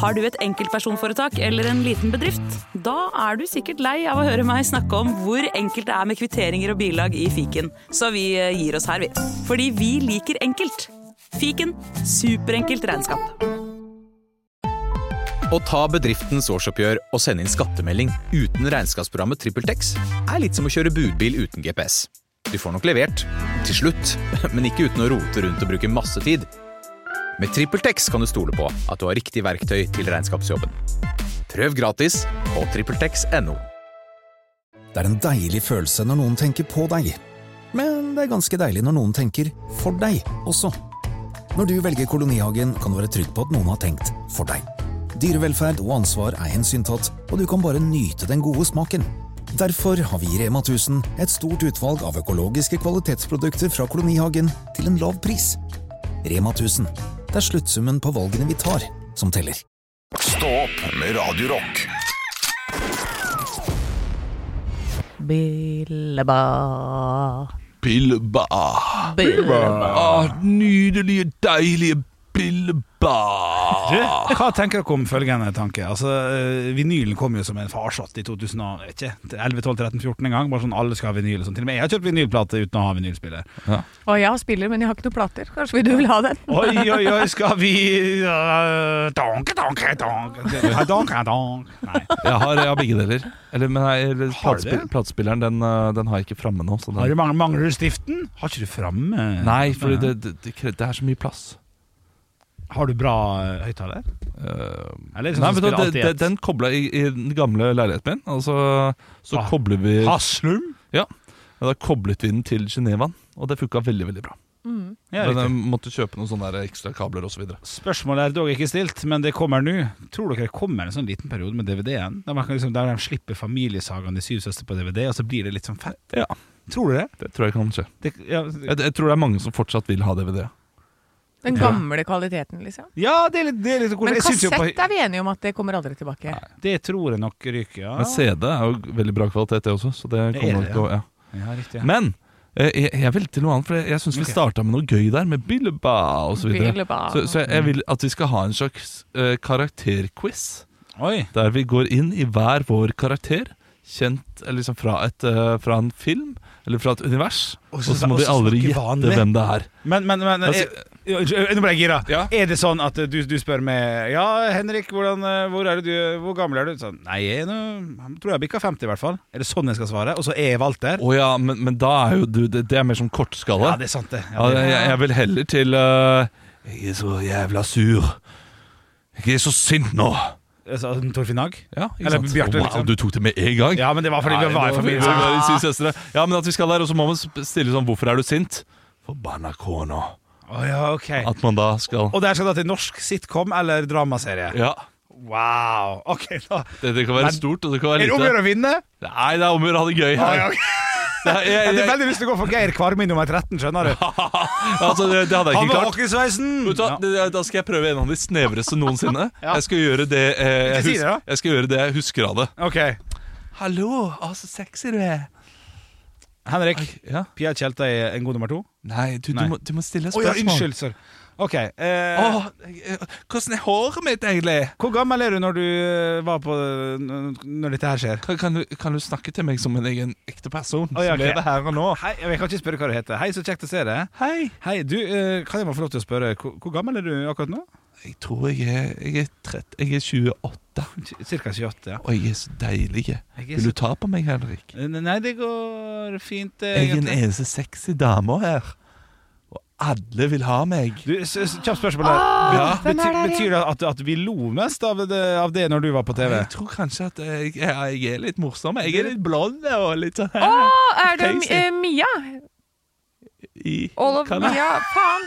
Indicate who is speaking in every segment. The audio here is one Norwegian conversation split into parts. Speaker 1: Har du et enkeltpersonforetak eller en liten bedrift? Da er du sikkert lei av å høre meg snakke om hvor enkelt det er med kvitteringer og bilag i fiken, så vi eh, gir oss her, vi. Fordi vi liker enkelt. Fiken superenkelt regnskap.
Speaker 2: Å ta bedriftens årsoppgjør og sende inn skattemelding uten regnskapsprogrammet TrippelTex er litt som å kjøre budbil uten GPS. Du får nok levert, til slutt, men ikke uten å rote rundt og bruke masse tid. Med TrippelTex kan du stole på at du har riktig verktøy til regnskapsjobben. Prøv gratis på TrippelTex.no.
Speaker 3: Det er en deilig følelse når noen tenker på deg. Men det er ganske deilig når noen tenker for deg også. Når du velger kolonihagen, kan du være trygg på at noen har tenkt for deg. Dyrevelferd og ansvar er hensyntatt, og du kan bare nyte den gode smaken. Derfor har vi i Rema 1000 et stort utvalg av økologiske kvalitetsprodukter fra kolonihagen til en lav pris. Rema 1000. Det er sluttsummen på valgene vi tar, som teller.
Speaker 4: Stå opp med Radio Rock.
Speaker 5: Billeba.
Speaker 6: Billeba.
Speaker 5: Billeba.
Speaker 6: Ah, nydelige, deilige Billeba.
Speaker 7: Du,
Speaker 6: Ah.
Speaker 7: hva tenker dere om følgende tanke? Altså, eh, Vinylen kom jo som en farsott i 2011-12-13-14 en gang. Bare sånn alle skal ha vinyl. og Sånn. Til og med jeg har kjøpt vinylplate uten å ha vinylspiller.
Speaker 5: Å, jeg har spiller, men jeg har ikke noen plater. Kanskje du vil ha den?
Speaker 7: Oi, oi, oi, skal vi uh, donke, donke, donke, donke, donke, donke. Nei.
Speaker 6: Jeg har, jeg har begge deler. Eller, men jeg, eller,
Speaker 7: Har du
Speaker 6: platespill-
Speaker 7: det?
Speaker 6: platespilleren den, eh, den har jeg ikke framme nå. Så den,
Speaker 7: Har du mang- Mangler du stiften? Har ikke du framme?
Speaker 6: nei, for det, det, det, kre- det er så mye plass.
Speaker 7: Har du bra eh, høyttaler?
Speaker 6: Eh,
Speaker 7: Eller sånn
Speaker 6: nei, vet
Speaker 7: spiller
Speaker 6: du, det,
Speaker 7: alltid
Speaker 6: det,
Speaker 7: et-
Speaker 6: den kobla i, i den gamle leiligheten min, og så, så
Speaker 7: Ah.
Speaker 6: kobler vi
Speaker 7: Haslum?
Speaker 6: Da koblet vi den til Genevaen, og det funka veldig veldig bra.
Speaker 7: Ja,
Speaker 6: Men eh,
Speaker 7: riktig.
Speaker 6: jeg måtte kjøpe noen sånne der ekstra kabler osv.
Speaker 7: Spørsmålet er dog ikke stilt, men det kommer nå. Tror dere det kommer en sånn liten periode med DVD-en? Der, man kan liksom, der de slipper familiesagaen til Syv søstre på DVD, og så blir det litt sånn fett?
Speaker 6: Ja.
Speaker 7: Tror du det?
Speaker 6: Det tror jeg kan skje.
Speaker 7: det ja,
Speaker 6: Jeg, jeg tror det er mange som fortsatt vil ha DVD.
Speaker 5: Den gamle kvaliteten, liksom.
Speaker 7: ja, det er litt, det er litt
Speaker 5: Men
Speaker 7: jeg synes jo på-
Speaker 5: kassett er vi enige om at det kommer aldri tilbake.
Speaker 7: Det tror jeg nok ryker, ja.
Speaker 6: Men CD er jo veldig bra kvalitet, det også. Så det
Speaker 7: Det Ah. er
Speaker 6: kommer
Speaker 7: det,
Speaker 6: nok til å ja.
Speaker 7: ja riktig, ja.
Speaker 6: Men eh, jeg, jeg vil til noe annet, for jeg, jeg syns
Speaker 7: Ok.
Speaker 6: vi starta med noe gøy der, med Billeba osv. Så,
Speaker 5: Billeba.
Speaker 6: så, så jeg, jeg vil at vi skal ha en slags eh, karakterquiz,
Speaker 7: Oi.
Speaker 6: der vi går inn i hver vår karakter. Kjent eller liksom fra, et, eh, fra en film eller fra et univers.
Speaker 7: Og
Speaker 6: Og
Speaker 7: så-
Speaker 6: så må
Speaker 7: og
Speaker 6: de
Speaker 7: så
Speaker 6: aldri
Speaker 7: snakke
Speaker 6: gjette
Speaker 7: vanlig.
Speaker 6: hvem det er.
Speaker 7: Men, men, men
Speaker 6: Altså-
Speaker 7: er, jo, jo, Nå ble jeg gira.
Speaker 6: Ja.
Speaker 7: Er det sånn at du, du spør meg Ja, Henrik, hvordan, eh, hvor, er det du, hvor gammel er du? Sånn, Nei, jeg, er nå- jeg tror jeg bikka 50, i hvert fall. Er det sånn jeg skal svare? Og så er jeg Walter?
Speaker 6: Å ja, men, men da er jo du Det, det er mer som kortskala.
Speaker 7: Ja, det er sant, det.
Speaker 6: Ja,
Speaker 7: Ja, det
Speaker 6: jeg, jeg vil heller til eh, Jeg er så jævla sur. Jeg er så sint nå.
Speaker 7: Altså, Torfinn Hag?
Speaker 6: Ja, ikke
Speaker 7: Eller
Speaker 6: sant?
Speaker 7: Bjarte,
Speaker 6: wow,
Speaker 7: liksom.
Speaker 6: Du tok det med en gang?
Speaker 7: Ja, men det var fordi vi var i familie.
Speaker 6: Ja, vi var syv søstre. ja, men at vi skal der, og så må man sp- stille sånn 'Hvorfor er du sint?' Forbanna kona.
Speaker 7: Å ja, ok.
Speaker 6: At man da skal
Speaker 7: Og der skal det til norsk sitcom eller dramaserie.
Speaker 6: Ja.
Speaker 7: Wow. Ok, da.
Speaker 6: Det, det kan
Speaker 7: Men-
Speaker 6: være stort, og det kan
Speaker 7: Er
Speaker 6: være
Speaker 7: det om å gjøre
Speaker 6: lite.
Speaker 7: å vinne?
Speaker 6: Nei, det er om å gjøre å ha det gøy
Speaker 7: Å,
Speaker 6: her.
Speaker 7: ja, ok.
Speaker 6: Det, er- jeg,
Speaker 7: Jeg hadde
Speaker 6: jeg,
Speaker 7: veldig lyst til å gå for Geir Kvarmi nummer 13, skjønner du.
Speaker 6: altså, det, det hadde jeg
Speaker 7: Han
Speaker 6: ikke
Speaker 7: med
Speaker 6: klart.
Speaker 7: hockeysveisen!
Speaker 6: Vet du hva,
Speaker 7: Ja.
Speaker 6: det- Da skal jeg prøve en av de snevreste noensinne.
Speaker 7: Ja.
Speaker 6: Jeg skal gjøre det eh, jeg,
Speaker 7: Ikke si det, da.
Speaker 6: hus- jeg skal gjøre det jeg husker av det.
Speaker 7: Ok.
Speaker 6: Hallo, å, så sexy du er.
Speaker 7: Henrik,
Speaker 6: Ja.
Speaker 7: Pia Tjelta er en god nummer to.
Speaker 6: Nei, du, du,
Speaker 7: Nei.
Speaker 6: Må, du må stille
Speaker 7: Å ja,
Speaker 6: spørsmål.
Speaker 7: unnskyld. Sorry. Ok. Eh,
Speaker 6: Åh, eh, hvordan er håret mitt, egentlig?
Speaker 7: Hvor gammel er du når du eh, var på Når dette her skjer?
Speaker 6: Kan, kan, du, kan du snakke til meg som en egen ekte person?
Speaker 7: Å, ja,
Speaker 6: som
Speaker 7: ok.
Speaker 6: lever her og nå?
Speaker 7: Hei, Jeg kan ikke spørre hva du heter. Hei, så kjekt å se deg.
Speaker 6: Hei!
Speaker 7: Hei, du, eh, Kan jeg bare få lov til å spørre, hvor, hvor gammel er du akkurat nå?
Speaker 6: Jeg tror jeg er, jeg er, 30, jeg er 28,
Speaker 7: Cirka 28, ja.
Speaker 6: og jeg er så deilig.
Speaker 7: Jeg er
Speaker 6: Vil du ta på meg, Henrik?
Speaker 7: så- Nei, det går fint. eh,
Speaker 6: Jeg er en
Speaker 7: egentlig.
Speaker 6: eneste sexy dame her, og alle vil ha meg.
Speaker 7: Du, s- s- Kjapt spørsmål. der.
Speaker 6: Ja.
Speaker 7: Bety, betyr Ah, det at, at vi lo mest av det, av det når du var på TV?
Speaker 6: Jeg tror kanskje at jeg, jeg, jeg er litt morsom. Jeg er litt blond og litt sånn
Speaker 5: Å, er det
Speaker 6: Crazy.
Speaker 5: eh, Mia?
Speaker 6: i-
Speaker 5: All of
Speaker 6: Kan jeg-
Speaker 5: Mia? Faen.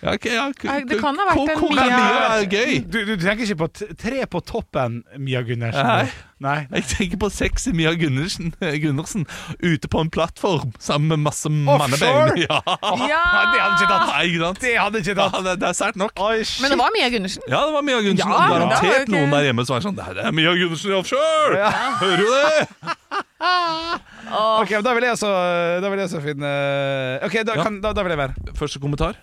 Speaker 6: Ja, ok, ja, k-
Speaker 5: Nei, det kan ha vært
Speaker 6: hvor-
Speaker 5: en
Speaker 6: Hvor kan
Speaker 5: Mia-
Speaker 6: Mia være gøy?
Speaker 7: Du, du tenker ikke på t tre på toppen, Mia Gundersen?
Speaker 6: Nei.
Speaker 7: Nei.
Speaker 6: Jeg tenker på sexy Mia Gundersen, Gundersen ute på en plattform sammen med masse mannebein. Ja.
Speaker 5: Ja!
Speaker 7: Det hadde ikke tatt!
Speaker 6: Nei, ikke sant?
Speaker 7: Det hadde ikke
Speaker 6: Ja,
Speaker 7: tatt!
Speaker 6: det, det er sært nok.
Speaker 7: Oi, shit.
Speaker 5: Men det var Mia Gundersen.
Speaker 6: Ja, det var Mia Gundersen.
Speaker 5: Ja,
Speaker 6: og
Speaker 5: men da var
Speaker 6: garantert
Speaker 5: jo ikke-
Speaker 6: noen der hjemme som er sånn Det her er Mia Gundersen i offshore! Hører du det?
Speaker 7: Ok, men da vil jeg så, da vil jeg så finne Ok, da,
Speaker 6: Ja.
Speaker 7: kan, da, da vil jeg være.
Speaker 6: Første kommentar.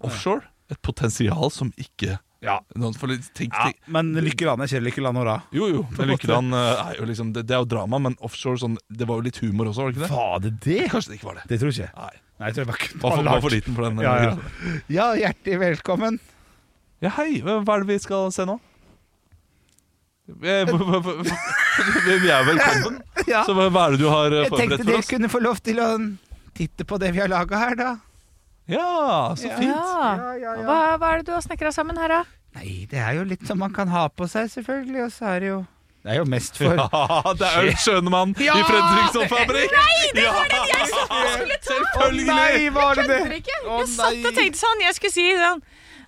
Speaker 6: Offshore. Et potensial som ikke
Speaker 7: Ja.
Speaker 6: Noen får litt tenk,
Speaker 7: ja
Speaker 6: tenk.
Speaker 7: men Lykkeland er ikke Lykkeland nå, da?
Speaker 6: Jo, jo. Men Lykkeland eh, er jo liksom det, det er jo drama, men offshore sånn, det var jo litt humor også, var det ikke det?
Speaker 7: Var det det?
Speaker 6: Kanskje det ikke var det.
Speaker 7: Det tror jeg ikke.
Speaker 6: Nei.
Speaker 7: Nei, jeg tror jeg bare
Speaker 6: Var for, var for liten for den. eh,
Speaker 7: Ja, ja.
Speaker 6: greia.
Speaker 7: ja, hjertelig velkommen.
Speaker 6: Ja, hei, hva hva er det vi skal se nå? Eh, hva- hva- hva- hva- Vi er velkommen.
Speaker 7: Ja,
Speaker 6: Så hva hva er det du har eh,
Speaker 7: jeg tenkte
Speaker 6: forberedt for
Speaker 7: dere
Speaker 6: oss?
Speaker 7: kunne få lov til å titte på det vi har laga her, da.
Speaker 6: Ja, så
Speaker 7: Ja.
Speaker 6: fint.
Speaker 5: Hva, hva er det du har snekra sammen her, da?
Speaker 7: Nei, det er jo litt som man kan ha på seg, selvfølgelig, og så er det jo Det er jo mest for
Speaker 6: Ja, det er jo Skjønemann i Fredriksson fabrikk! Nei, det var den jeg skulle ta! Selvfølgelig!
Speaker 7: var det
Speaker 5: Jeg satt og tenkte sånn, jeg skulle si sånn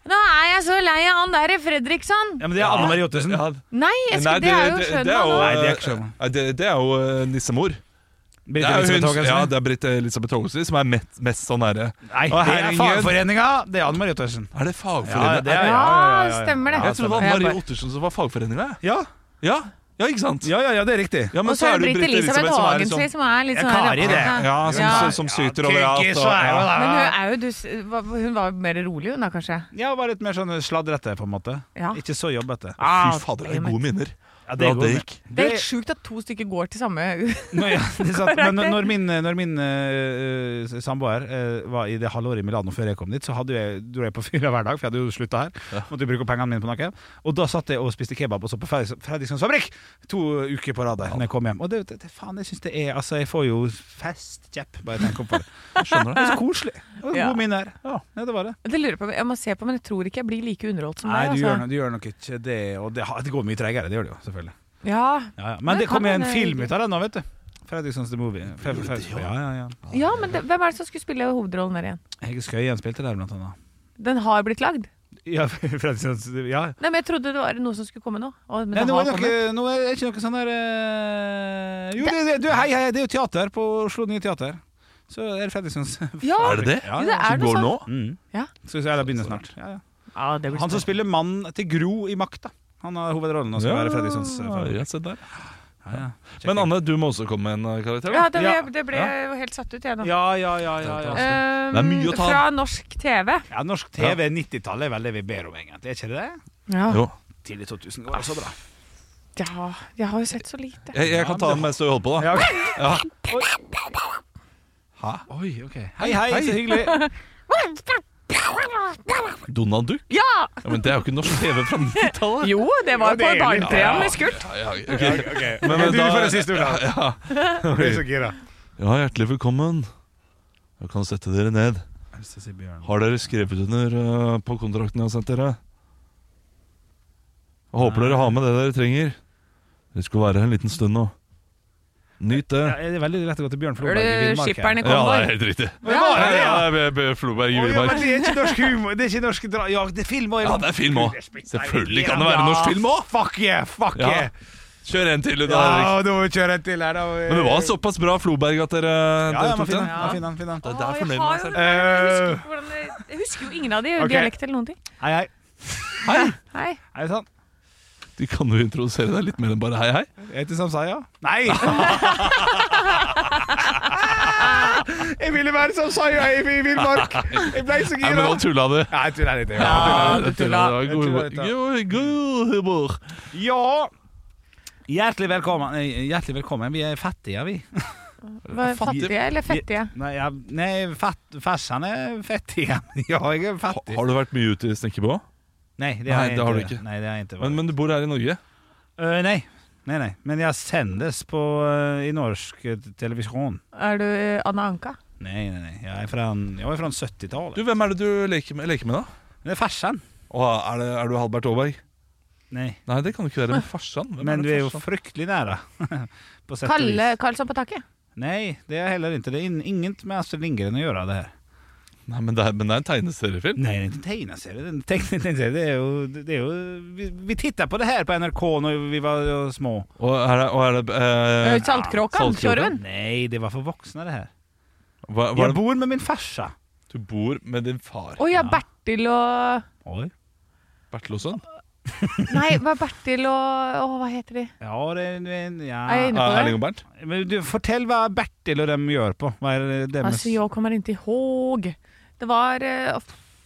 Speaker 5: Da er jeg så lei av han der Fredriksson.
Speaker 7: Ja, men det er Anne Marie Ottesen.
Speaker 6: Ja.
Speaker 5: Nei, jeg skulle, det, er jo Schønmann
Speaker 6: jo,
Speaker 5: nå.
Speaker 7: Nei, det er ikke Schønmann.
Speaker 6: eh, Det, det er jo eh, nissemor. Det
Speaker 7: Britt
Speaker 6: er jo
Speaker 7: Elisabeth
Speaker 6: hun,
Speaker 7: Haagensen.
Speaker 6: ja, det er Britt Elisabeth Thaagensen som er mest, mest sånn herre
Speaker 7: Nei,
Speaker 6: Å,
Speaker 7: det er
Speaker 6: herregud.
Speaker 7: fagforeninga! Det er Anne Marie Ottesen.
Speaker 6: Er det fagforeningen?
Speaker 7: er-
Speaker 5: Ja, stemmer det.
Speaker 6: jeg trodde det var
Speaker 5: Jeg
Speaker 6: Marie
Speaker 5: bare-
Speaker 6: Ottersen som var fagforeninga. jeg.
Speaker 7: Ja,
Speaker 6: Ja, ja, ikke sant?
Speaker 7: ja, ja, ja, det er riktig.
Speaker 6: Ja,
Speaker 5: Og så er det Britt
Speaker 6: som
Speaker 5: Elisabeth
Speaker 6: er
Speaker 5: Hagen
Speaker 6: liksom-
Speaker 5: som er litt
Speaker 7: Jeg
Speaker 5: sånn
Speaker 7: karer i det.
Speaker 6: Ja, som,
Speaker 5: Ja.
Speaker 6: som, som syter overalt.
Speaker 7: Kyrkis,
Speaker 6: og-
Speaker 7: så er jo da-
Speaker 5: Men hun er jo dus hva- Hun var jo mer rolig hun da, kanskje?
Speaker 7: Ja, bare litt mer sånn sladrete, på en måte.
Speaker 5: Ja.
Speaker 7: Ikke så jobbete.
Speaker 6: Fy fader, det er gode minner.
Speaker 7: Ja,
Speaker 6: Ja, det
Speaker 7: går.
Speaker 6: gikk.
Speaker 5: Det er helt sjukt at to stykker går til samme
Speaker 7: Nå, ja, det er sant. Men når- når min, når min eh, eh, samboer eh, var i det halvåret i Milano før jeg kom dit, så hadde jeg, dro jeg på fyra hver dag, for jeg hadde jo slutta her. Måtte jo bruke pengene mine på noe. Og da satt jeg og spiste kebab og så på Fredriks- Fredrikssons fabrikk to uker på rad der når jeg kom hjem. Og det, det, det faen, jeg syns det er Altså, jeg får jo festkjepp bare jeg tenker på det.
Speaker 6: Skjønner
Speaker 7: Det
Speaker 6: du?
Speaker 7: er så koselig. Det var
Speaker 5: Ja.
Speaker 7: Gode minner. Ja, det var det.
Speaker 5: Det lurer jeg på, Jeg må se på, men jeg tror ikke jeg blir like underholdt som
Speaker 7: Nei,
Speaker 5: deg.
Speaker 7: du
Speaker 5: altså.
Speaker 7: gjør, no- du gjør nok ikke det, og det, har- det går mye tregere. Det gjør det jo, selvfølgelig.
Speaker 5: Ja.
Speaker 7: Ja, ja.
Speaker 5: Men
Speaker 7: Men det
Speaker 5: kan
Speaker 7: kommer en
Speaker 5: man, eh,
Speaker 7: film ut av det nå, vet du. Fredrikssons The Movie. Fe- fe- fe- Ja, ja, ja.
Speaker 5: ja, men det, hvem er det som skulle spille hovedrollen der igjen?
Speaker 7: Hege Skøyen spilte der, blant annet.
Speaker 5: Den har blitt lagd?
Speaker 7: Ja, Fredrikssons Ja.
Speaker 5: Nei, men Jeg trodde det var noe som skulle komme nå. Å, men
Speaker 7: Nei,
Speaker 5: det
Speaker 7: nå, er
Speaker 5: har
Speaker 7: det
Speaker 5: kommet.
Speaker 7: ikke, nå er det ikke noe sånn der eh, Jo, det, det, du, hei, hei, det er jo teater på Oslo Nye Teater. Så er det Fredrikssons
Speaker 5: Ja,
Speaker 6: Er det det?
Speaker 7: Ja,
Speaker 5: Jo,
Speaker 7: ja.
Speaker 5: det er
Speaker 6: Som
Speaker 5: noe sånn.
Speaker 6: går nå?
Speaker 5: sånt.
Speaker 7: Mm.
Speaker 5: Ja.
Speaker 7: Så ja, det begynner snart. Ja, ja.
Speaker 5: Ja, det blir
Speaker 7: Han som
Speaker 5: spennende.
Speaker 7: spiller mannen til Gro i Makta. Han har hovedrollen og skal være Fredrikssons eh, far.
Speaker 6: ja, se der.
Speaker 7: Ja, ja.
Speaker 6: Men Anne, du må også komme med en eh, karakter.
Speaker 5: Ja,
Speaker 6: Da.
Speaker 5: det,
Speaker 7: Ja.
Speaker 5: ble- det ble jeg jo helt satt ut, jeg nå.
Speaker 7: Ja, ja, ja, ja, ja.
Speaker 5: Ehm,
Speaker 6: Det er mye å ta av.
Speaker 5: Fra norsk TV.
Speaker 7: ja norsk TV 90-tallet er vel det vi ber om, egentlig. Er ikke det det?
Speaker 5: Ja.
Speaker 6: Jo.
Speaker 7: Tidlig 2000 går det så bra.
Speaker 5: ja, jeg har jo sett så lite.
Speaker 6: Jeg, jeg kan ta den mens du holder på, da.
Speaker 7: Ja, ok.
Speaker 6: Hæ?
Speaker 7: Oi, ok. Hei, hei,
Speaker 6: Hei.
Speaker 7: så hyggelig.
Speaker 6: Donald Duck?
Speaker 5: Ja!
Speaker 6: Ja, men det er jo ikke norsk TV fra 90-tallet.
Speaker 5: Jo, det var
Speaker 7: Ja, det
Speaker 5: på
Speaker 7: er litt-
Speaker 5: barneprogram
Speaker 7: ja.
Speaker 5: med Skurt.
Speaker 6: Ja, ja, ok.
Speaker 7: Men,
Speaker 6: men
Speaker 7: du
Speaker 6: da-
Speaker 7: får det siste ordet.
Speaker 6: Ja.
Speaker 7: Jeg blir så gira.
Speaker 6: ja, hjertelig velkommen. Jeg kan sette dere ned.
Speaker 7: Jeg har lyst til å si Bjørn.
Speaker 6: Har dere skrevet under eh, på kontrakten jeg har sendt dere? Jeg håper dere har med det dere trenger. Dere skal være her en liten stund nå. Nyt det.
Speaker 7: Ja, det er veldig lett å gå til Bjørn
Speaker 5: Hører
Speaker 7: Floberg i
Speaker 5: du
Speaker 7: Villmark.
Speaker 5: skipperen i
Speaker 6: Ja, det
Speaker 5: konvoi?
Speaker 6: er helt riktig.
Speaker 7: Men hva er det, ja?
Speaker 6: Ja, det er B- B- Floberg
Speaker 7: Å,
Speaker 6: i
Speaker 7: ja, men
Speaker 6: Villmark.
Speaker 7: det er ikke norsk humor. Det er ikke norsk dra... Ja, det er film òg.
Speaker 6: Ja, det er film òg. Selvfølgelig kan det være norsk film òg!
Speaker 7: Fuck yeah! Fuck
Speaker 6: Ja.
Speaker 7: yeah!
Speaker 6: Kjør en til, du, da. Erik.
Speaker 7: Ja, nå må vi kjøre en til her, da.
Speaker 6: Men det var såpass bra Floberg at
Speaker 7: Ja,
Speaker 6: dere, dere
Speaker 7: ja, men
Speaker 6: tok
Speaker 7: finn
Speaker 6: den.
Speaker 7: den. Ja, finn den, finn den.
Speaker 6: Det, det
Speaker 5: Å,
Speaker 6: er
Speaker 5: jeg
Speaker 6: fornøyd
Speaker 5: har
Speaker 6: med
Speaker 5: jo
Speaker 6: deg
Speaker 5: den
Speaker 6: selv.
Speaker 5: der, men jeg
Speaker 7: Eh.
Speaker 5: husker ikke hvordan det- Jeg husker jo ingen av de,
Speaker 7: Ok.
Speaker 5: dialekt eller noen ting.
Speaker 7: Hei, hei.
Speaker 5: Hei.
Speaker 7: Er det sant?
Speaker 6: Du kan jo introdusere deg litt mer enn bare hei, hei.
Speaker 7: Jeg heter Samsaya. Nei! jeg ville være Samsaya i i Villmark. Jeg ble så
Speaker 6: Nei, men
Speaker 7: gira.
Speaker 6: nå tulla du.
Speaker 7: Nei, jeg tuller litt. jeg.
Speaker 6: Ja,
Speaker 5: du
Speaker 6: det
Speaker 5: tulla.
Speaker 6: var
Speaker 7: Jeg tulla litt,
Speaker 6: God
Speaker 7: ja.
Speaker 6: god- god humor.
Speaker 7: Ja! Hjertelig velkommen. Nei, Hjertelig velkommen. Vi er fattige, vi.
Speaker 5: Var fattige eller fettige?
Speaker 7: Nei, ja, nei fett, farsan er fattig. Ja, jeg er
Speaker 6: Ha-
Speaker 7: fattig.
Speaker 6: Har du vært mye ute i snekkerbua?
Speaker 7: Nei, det,
Speaker 6: Nei,
Speaker 7: har jeg
Speaker 6: det har du ikke.
Speaker 7: Nei, det har jeg ikke.
Speaker 6: Men, men du bor her i Norge?
Speaker 7: Øh, nei. nei, nei. Men jeg sendes på, øh, i norsk øh, televisjon.
Speaker 5: Er du eh, Anna Anka?
Speaker 7: Nei, nei, nei. Jeg er fra, jeg er fra
Speaker 6: Du,
Speaker 7: 70-tallet.
Speaker 6: Hvem er det du leker med, leker med da?
Speaker 7: Det er farsan.
Speaker 6: Å, er, det, er du Halberg Aaberg?
Speaker 7: Nei.
Speaker 6: Nei, det kan du ikke være. Men farsan? Hvem
Speaker 7: Men
Speaker 6: det
Speaker 7: vi er jo
Speaker 6: farsan?
Speaker 7: fryktelig nære. på sett og vis.
Speaker 5: Kalle Karlsson på taket?
Speaker 7: Nei, det er heller ikke. Det er in- inget med Astrid Lindgren å gjøre, det her.
Speaker 6: Nei, men det er, men det er en tegneseriefilm.
Speaker 7: Nei, det er ikke tegneserie. Det er en tegn- tegneserie. Det er jo, det er jo vi, vi tittet på det her på NRK når vi var jo små.
Speaker 6: Og er det, og er det eh,
Speaker 5: Eh, Saltkråka?
Speaker 6: Saltkråkan.
Speaker 5: Tjorven?
Speaker 7: Nei, det var for voksne, det her.
Speaker 6: hva, hva
Speaker 7: Jeg
Speaker 6: er det?
Speaker 7: bor med min farsa.
Speaker 6: Du bor med din far,
Speaker 5: Å ja, Bertil og
Speaker 7: Oi.
Speaker 6: Bertil Olsson?
Speaker 5: Nei, hva er Bertil og Å, hva heter de?
Speaker 7: Ja, det er en-
Speaker 5: Er jeg
Speaker 7: ja.
Speaker 5: inne på det?
Speaker 6: Erling og Bernt?
Speaker 7: Men du, fortell hva
Speaker 5: Altså,
Speaker 7: Bertil og dem gjør på. Hva er det deres
Speaker 5: Alltså jag kommer inte ihåg. Det var... eh,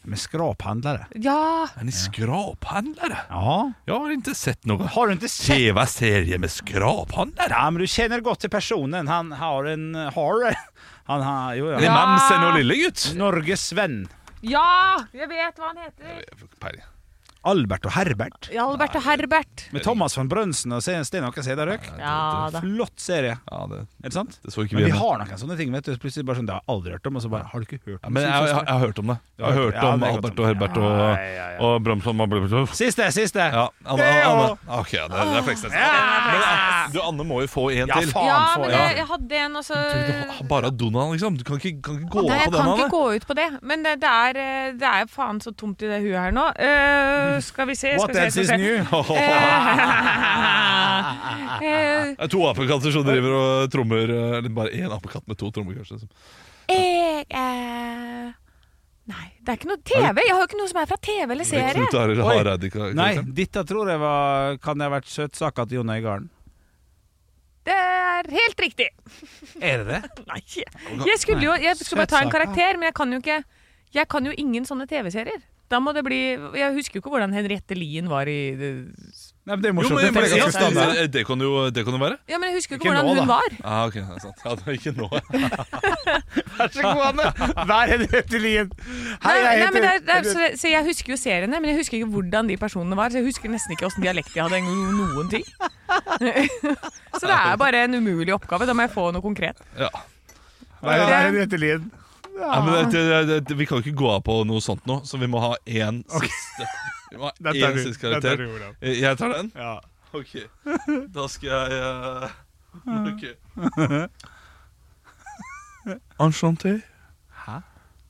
Speaker 7: med skraphandlere.
Speaker 5: Ja.
Speaker 6: Är ni skraphandlare?
Speaker 7: Ja.
Speaker 6: Jag har inte sett någon
Speaker 7: Har du inte sett
Speaker 6: TV-serie med skraphandlare.
Speaker 7: Ja, men du känner godt til personen. Han har en har, han har, jo,
Speaker 6: Är det
Speaker 7: ja.
Speaker 6: mamsen och lillegutt?
Speaker 7: Norges venn.
Speaker 5: Ja! Jeg vet hva han heter.
Speaker 7: Albert og Herbert.
Speaker 5: Albert og Herbert.
Speaker 7: Med Thomas von Brønnsen og Sten Åke Sæderøk.
Speaker 5: Ja da.
Speaker 7: Flott serie.
Speaker 6: Ja, det,
Speaker 7: Er det sant?
Speaker 6: det så ikke
Speaker 7: Men
Speaker 6: vi.
Speaker 7: vi
Speaker 6: Men,
Speaker 7: har noen sånne ting. vet du Plutselig bare sånn, Det har jeg aldri hørt om. Og så bare Har du ikke hørt
Speaker 6: ja,
Speaker 7: om
Speaker 6: men jeg, jeg, jeg har hørt om det. Jeg har hørt om
Speaker 7: Ja, det er godt
Speaker 6: Albert
Speaker 7: om-
Speaker 6: og Herbert og,
Speaker 7: Ja, ja, ja.
Speaker 6: og Bromsholm og Blubblubblub.
Speaker 7: Siste, siste!
Speaker 6: Ja, Anne,
Speaker 7: Det er jo-
Speaker 6: Anne. Ok, det, det er fleksnes. Men eh, du, Anne må jo få en
Speaker 7: Ja,
Speaker 6: til.
Speaker 7: faen
Speaker 5: Ja,
Speaker 7: for
Speaker 5: men
Speaker 7: ja.
Speaker 5: jeg, jeg hadde en, altså, og så
Speaker 6: Du- Bare Donald, liksom. Du kan ikke, kan ikke gå
Speaker 5: Nei,
Speaker 6: på den,
Speaker 5: jeg kan ikke
Speaker 6: Anne.
Speaker 5: gå ut på det, men det, det, er, eh, det er faen så tomt i det huet her nå. Eh, skal vi se skal
Speaker 7: What
Speaker 5: vi
Speaker 7: else
Speaker 5: se,
Speaker 7: is
Speaker 5: skal vi se.
Speaker 7: new?
Speaker 5: Eh, eh,
Speaker 6: Det er to apekatter som driver og trommer eh, Eller bare én apekatt med to trommer, kanskje. som-
Speaker 5: jeg er- Eh, Nei, det er ikke noe TV. Jeg har jo ikke noe som er fra TV eller
Speaker 6: Det er
Speaker 5: serie.
Speaker 6: Knut Arild
Speaker 7: Oi.
Speaker 6: Hareide. ikke- ikke
Speaker 7: Nei,
Speaker 6: sant?
Speaker 7: dette tror jeg var Kan det ha vært søtsaka til Jon Øigarden?
Speaker 5: Det er helt riktig.
Speaker 7: Er det det?
Speaker 5: Nei. Jeg skulle jo jeg skulle bare ta en
Speaker 7: Søtsak, ja.
Speaker 5: karakter, men jeg kan jo ikke Jeg kan jo ingen sånne TV-serier. Da må det bli Jeg husker jo ikke hvordan Henriette Lien var i
Speaker 7: Nei, men Det er
Speaker 6: Jo,
Speaker 7: morsomt.
Speaker 6: men,
Speaker 7: Dette
Speaker 6: men,
Speaker 7: er ganske standard.
Speaker 6: ja, det, kan jo, det kan jo være.
Speaker 5: Ja, men jeg husker jo ikke,
Speaker 7: Ikke nå,
Speaker 5: hvordan hun
Speaker 7: da.
Speaker 5: var.
Speaker 6: Ah, ok, det er sant. Ja, det er ikke nå.
Speaker 7: Vær så god, Anne. Vær Henriette Lien. Hei,
Speaker 5: Nei,
Speaker 7: jeg
Speaker 5: nei, men det
Speaker 7: heter
Speaker 5: er, det er, så, så jeg husker jo seriene, men jeg husker ikke hvordan de personene var. Så jeg husker nesten ikke åssen dialekt de hadde. Noen, noen ting. så det er bare en umulig oppgave. Da må jeg få noe konkret.
Speaker 6: Ja.
Speaker 7: Vær vær Henriette Lien.
Speaker 6: Ja, men det, det, det, det, vi kan jo ikke gå av på noe sånt nå, så vi må ha én siste. Vi må ha
Speaker 7: Den tar
Speaker 6: én
Speaker 7: du.
Speaker 6: siste
Speaker 7: Den tar
Speaker 6: karakter. Eh,
Speaker 7: du, Olav.
Speaker 6: Jeg tar den?
Speaker 7: Ja.
Speaker 6: Ok. Da skal jeg eh, Ok. Enchanté.
Speaker 7: Hæ?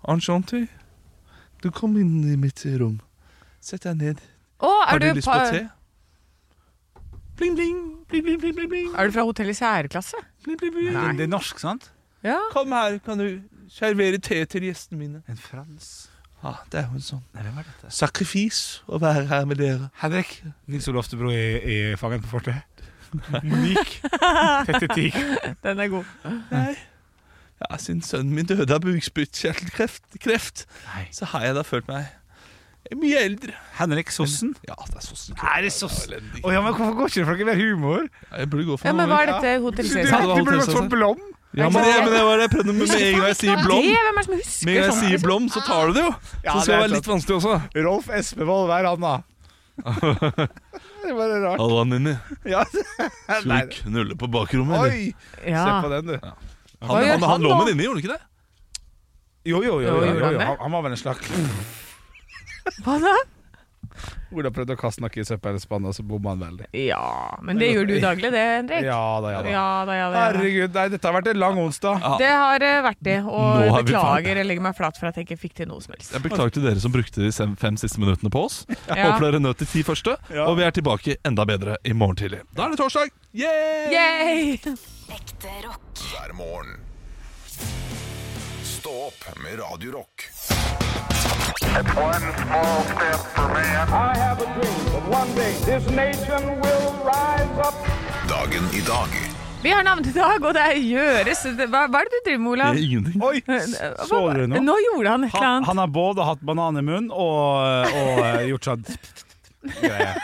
Speaker 6: Enchanté. Du kom inn i mitt rom. Sett deg ned.
Speaker 5: Å, er
Speaker 6: Har du, lyst på
Speaker 5: pa-
Speaker 6: te? Bling, bling, bling, bling, bling, bling, bling.
Speaker 5: Er du fra hotellets særklasse?
Speaker 6: bling, bling, bling.
Speaker 7: Det, det er norsk, sant?
Speaker 5: Ja.
Speaker 6: Kom her, kan du servere te til gjestene mine.
Speaker 7: En frans.
Speaker 6: Ja, det er jo en sånn
Speaker 7: Nei, hvem er dette?
Speaker 6: sakrifis å være her med dere.
Speaker 7: Henrik. Nils Olof Stubro i, i Fangen på fortet. Monique. Tette Tig.
Speaker 5: Den er god.
Speaker 6: Ja, siden sønnen min døde av bukspyttkjertelkreft, kreft,
Speaker 7: Nei.
Speaker 6: så har jeg da følt meg mye eldre.
Speaker 7: Henrik Sossen.
Speaker 6: Ja, det er sossen.
Speaker 7: Er det Sossen? Å ja, men Hvorfor går ikke det for noe mer humor?
Speaker 6: Jeg burde gå for
Speaker 5: Ja, men hva er dette
Speaker 7: Du,
Speaker 5: hotell
Speaker 7: du,
Speaker 5: særklasse?
Speaker 7: du burde sånn gått for Blom.
Speaker 6: Ja, men det, men det var det jeg prøvde med med en gang jeg sier blom.
Speaker 5: Det, hvem er det som husker
Speaker 6: Med en gang jeg
Speaker 5: sånt?
Speaker 6: sier blom, så tar du det jo.
Speaker 7: Ja,
Speaker 6: Så det
Speaker 7: det
Speaker 6: skal
Speaker 7: er
Speaker 6: være litt vanskelig også.
Speaker 7: Rolf Espevold, hver han, da. det var rart.
Speaker 6: Allan inni,
Speaker 7: Ja.
Speaker 6: skulle
Speaker 7: Nei,
Speaker 6: du knulle på bakrommet? eller?
Speaker 7: oi!
Speaker 5: Ja.
Speaker 7: Se på den, du.
Speaker 6: Han,
Speaker 5: Hva gjør
Speaker 6: han,
Speaker 5: han
Speaker 6: han lå
Speaker 5: nå?
Speaker 6: med inni, gjorde han ikke det?
Speaker 7: Jo, jo, jo.
Speaker 5: Jo,
Speaker 7: jo,
Speaker 5: gjorde
Speaker 7: jo,
Speaker 5: han
Speaker 7: jo.
Speaker 5: det?
Speaker 7: Han, han var vel en slags
Speaker 5: Hva da?
Speaker 7: Ola prøvde å kaste noe i søppelspannet, og så bomma han veldig.
Speaker 5: Ja, men det gjør du daglig det, Henrik.
Speaker 7: Ja da, ja da.
Speaker 5: Ja da, ja da. Ja, da.
Speaker 7: Herregud, nei, dette har vært en lang onsdag.
Speaker 5: Det har eh, vært det, og
Speaker 6: Nå er vi ferdig.
Speaker 5: beklager, jeg legger meg flat for at jeg ikke fikk til noe som helst.
Speaker 6: Jeg beklager til dere som brukte de sem- fem siste minuttene på oss.
Speaker 5: Ja.
Speaker 6: Håper dere nøt de ti første.
Speaker 7: Ja.
Speaker 6: Og vi er tilbake enda bedre i morgen tidlig. Da er det torsdag! Yay!
Speaker 5: Yay!
Speaker 8: Ekte rock.
Speaker 4: hver morgen. Stå opp med Radio Rock.
Speaker 9: I have a dream that one day this nation will rise up.
Speaker 4: Dagen i dag
Speaker 5: Vi har navnedag, og det er Gjøres. Det- Hva, hva er det du driver med, Olav?
Speaker 6: Det er ingenting.
Speaker 7: Oi,
Speaker 5: Hva-
Speaker 7: Eh, så du nå?
Speaker 5: Nå gjorde han et eller
Speaker 7: Han,
Speaker 5: annet.
Speaker 7: han har både hatt banan i munnen og, og eh, gjort sånn greie.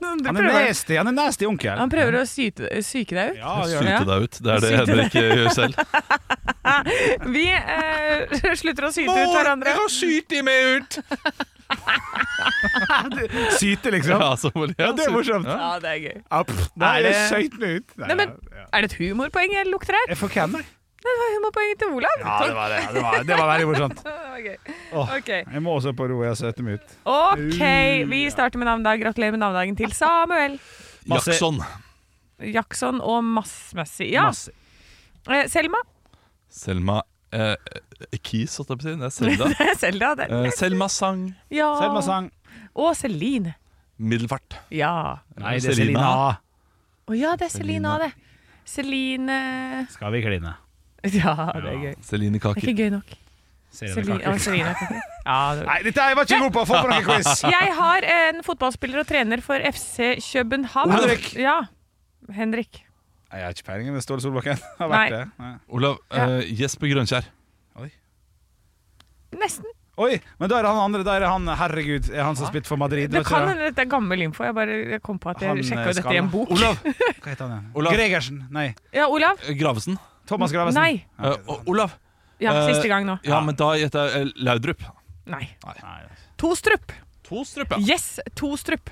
Speaker 5: Han,
Speaker 7: Han er
Speaker 5: prøver,
Speaker 7: nasty, han er nasty onkel.
Speaker 5: han prøver å syte, syke deg ut.
Speaker 7: Ja, han gjør det.
Speaker 6: Syte
Speaker 5: Ja.
Speaker 6: deg ut. Det er det
Speaker 5: Syte
Speaker 6: Henrik gjør selv.
Speaker 5: Vi eh, slutter å syte ut hverandre.
Speaker 6: syte meg ut!
Speaker 7: Syte, liksom.
Speaker 6: Ja, så må jeg
Speaker 7: Ja, det er
Speaker 6: syte.
Speaker 7: morsomt.
Speaker 5: Ja, det er gøy.
Speaker 7: Ja, pff, Nei,
Speaker 5: Er
Speaker 7: det
Speaker 5: det-
Speaker 7: skøyt meg ut.
Speaker 5: Nei, men-
Speaker 7: ja, ja.
Speaker 5: Er det et humorpoeng jeg lukter her?
Speaker 7: Jeg får hvem, jeg?
Speaker 5: Det var humorpoenget til Olav.
Speaker 7: Ja, det var det. Ja, det, var, det var veldig morsomt.
Speaker 5: Det var gøy.
Speaker 7: Åh,
Speaker 5: Ok.
Speaker 7: Jeg må også på ro, jeg søter meg ut.
Speaker 5: ok, vi starter med navnedag. Gratulerer med navnedagen til Samuel
Speaker 7: Masse-
Speaker 6: Jackson.
Speaker 5: Jackson og Massmessig. Ja.
Speaker 7: Masse.
Speaker 5: Eh, Selma.
Speaker 6: Selma eh, Keys, holdt jeg på å si. Det er Selda.
Speaker 5: Selda. det-
Speaker 6: Eh, Selma sang
Speaker 5: Ja.
Speaker 7: Selma sang.
Speaker 5: Og Celine.
Speaker 6: middelfart.
Speaker 5: Ja.
Speaker 7: Nei, det er Selina.
Speaker 5: Å ja, det er Celine òg, det. Celine
Speaker 7: Skal vi kline?
Speaker 5: Ja, det er gøy.
Speaker 6: Celine
Speaker 5: Det er
Speaker 6: Kaker.
Speaker 5: ikke gøy nok. Celine, ja,
Speaker 7: Selina.
Speaker 5: Celine er ikke- ja, det er gøy.
Speaker 7: Nei, dette er jeg var ikke god på! Få på noen quiz!
Speaker 5: Jeg har en fotballspiller og trener for FC København.
Speaker 7: Henrik.
Speaker 5: Ja. Henrik.
Speaker 7: Nei, Jeg har ikke peiling, men Ståle Solbakken har
Speaker 5: Nei.
Speaker 7: vært det. Nei.
Speaker 6: Olav. Eh, Jesper Grønkjær.
Speaker 5: Nesten.
Speaker 7: Å Oi, men da er det han andre. Da er det han herregud, er han som har spilt for Madrid.
Speaker 5: Det
Speaker 7: vet du
Speaker 5: kan hende dette er gammel info. Jeg bare jeg kom på at jeg
Speaker 7: Han, eh,
Speaker 5: sjekka dette
Speaker 7: Skalla.
Speaker 5: i en bok.
Speaker 7: Olav! Hva heter han igjen?
Speaker 6: Olav.
Speaker 7: Gregersen. Nei.
Speaker 5: Ja, Olav?
Speaker 6: Eh, Gravesen.
Speaker 7: Thomas Gravesen.
Speaker 5: Nei.
Speaker 6: Eh, og Olav.
Speaker 5: Ja,
Speaker 6: Eh,
Speaker 5: siste gang nå.
Speaker 6: Ja, men da gjetter jeg eh, Laudrup.
Speaker 5: Nei.
Speaker 7: Nei. altså.
Speaker 5: Tostrup.
Speaker 6: Tostrup, ja.
Speaker 5: Yes, Tostrup.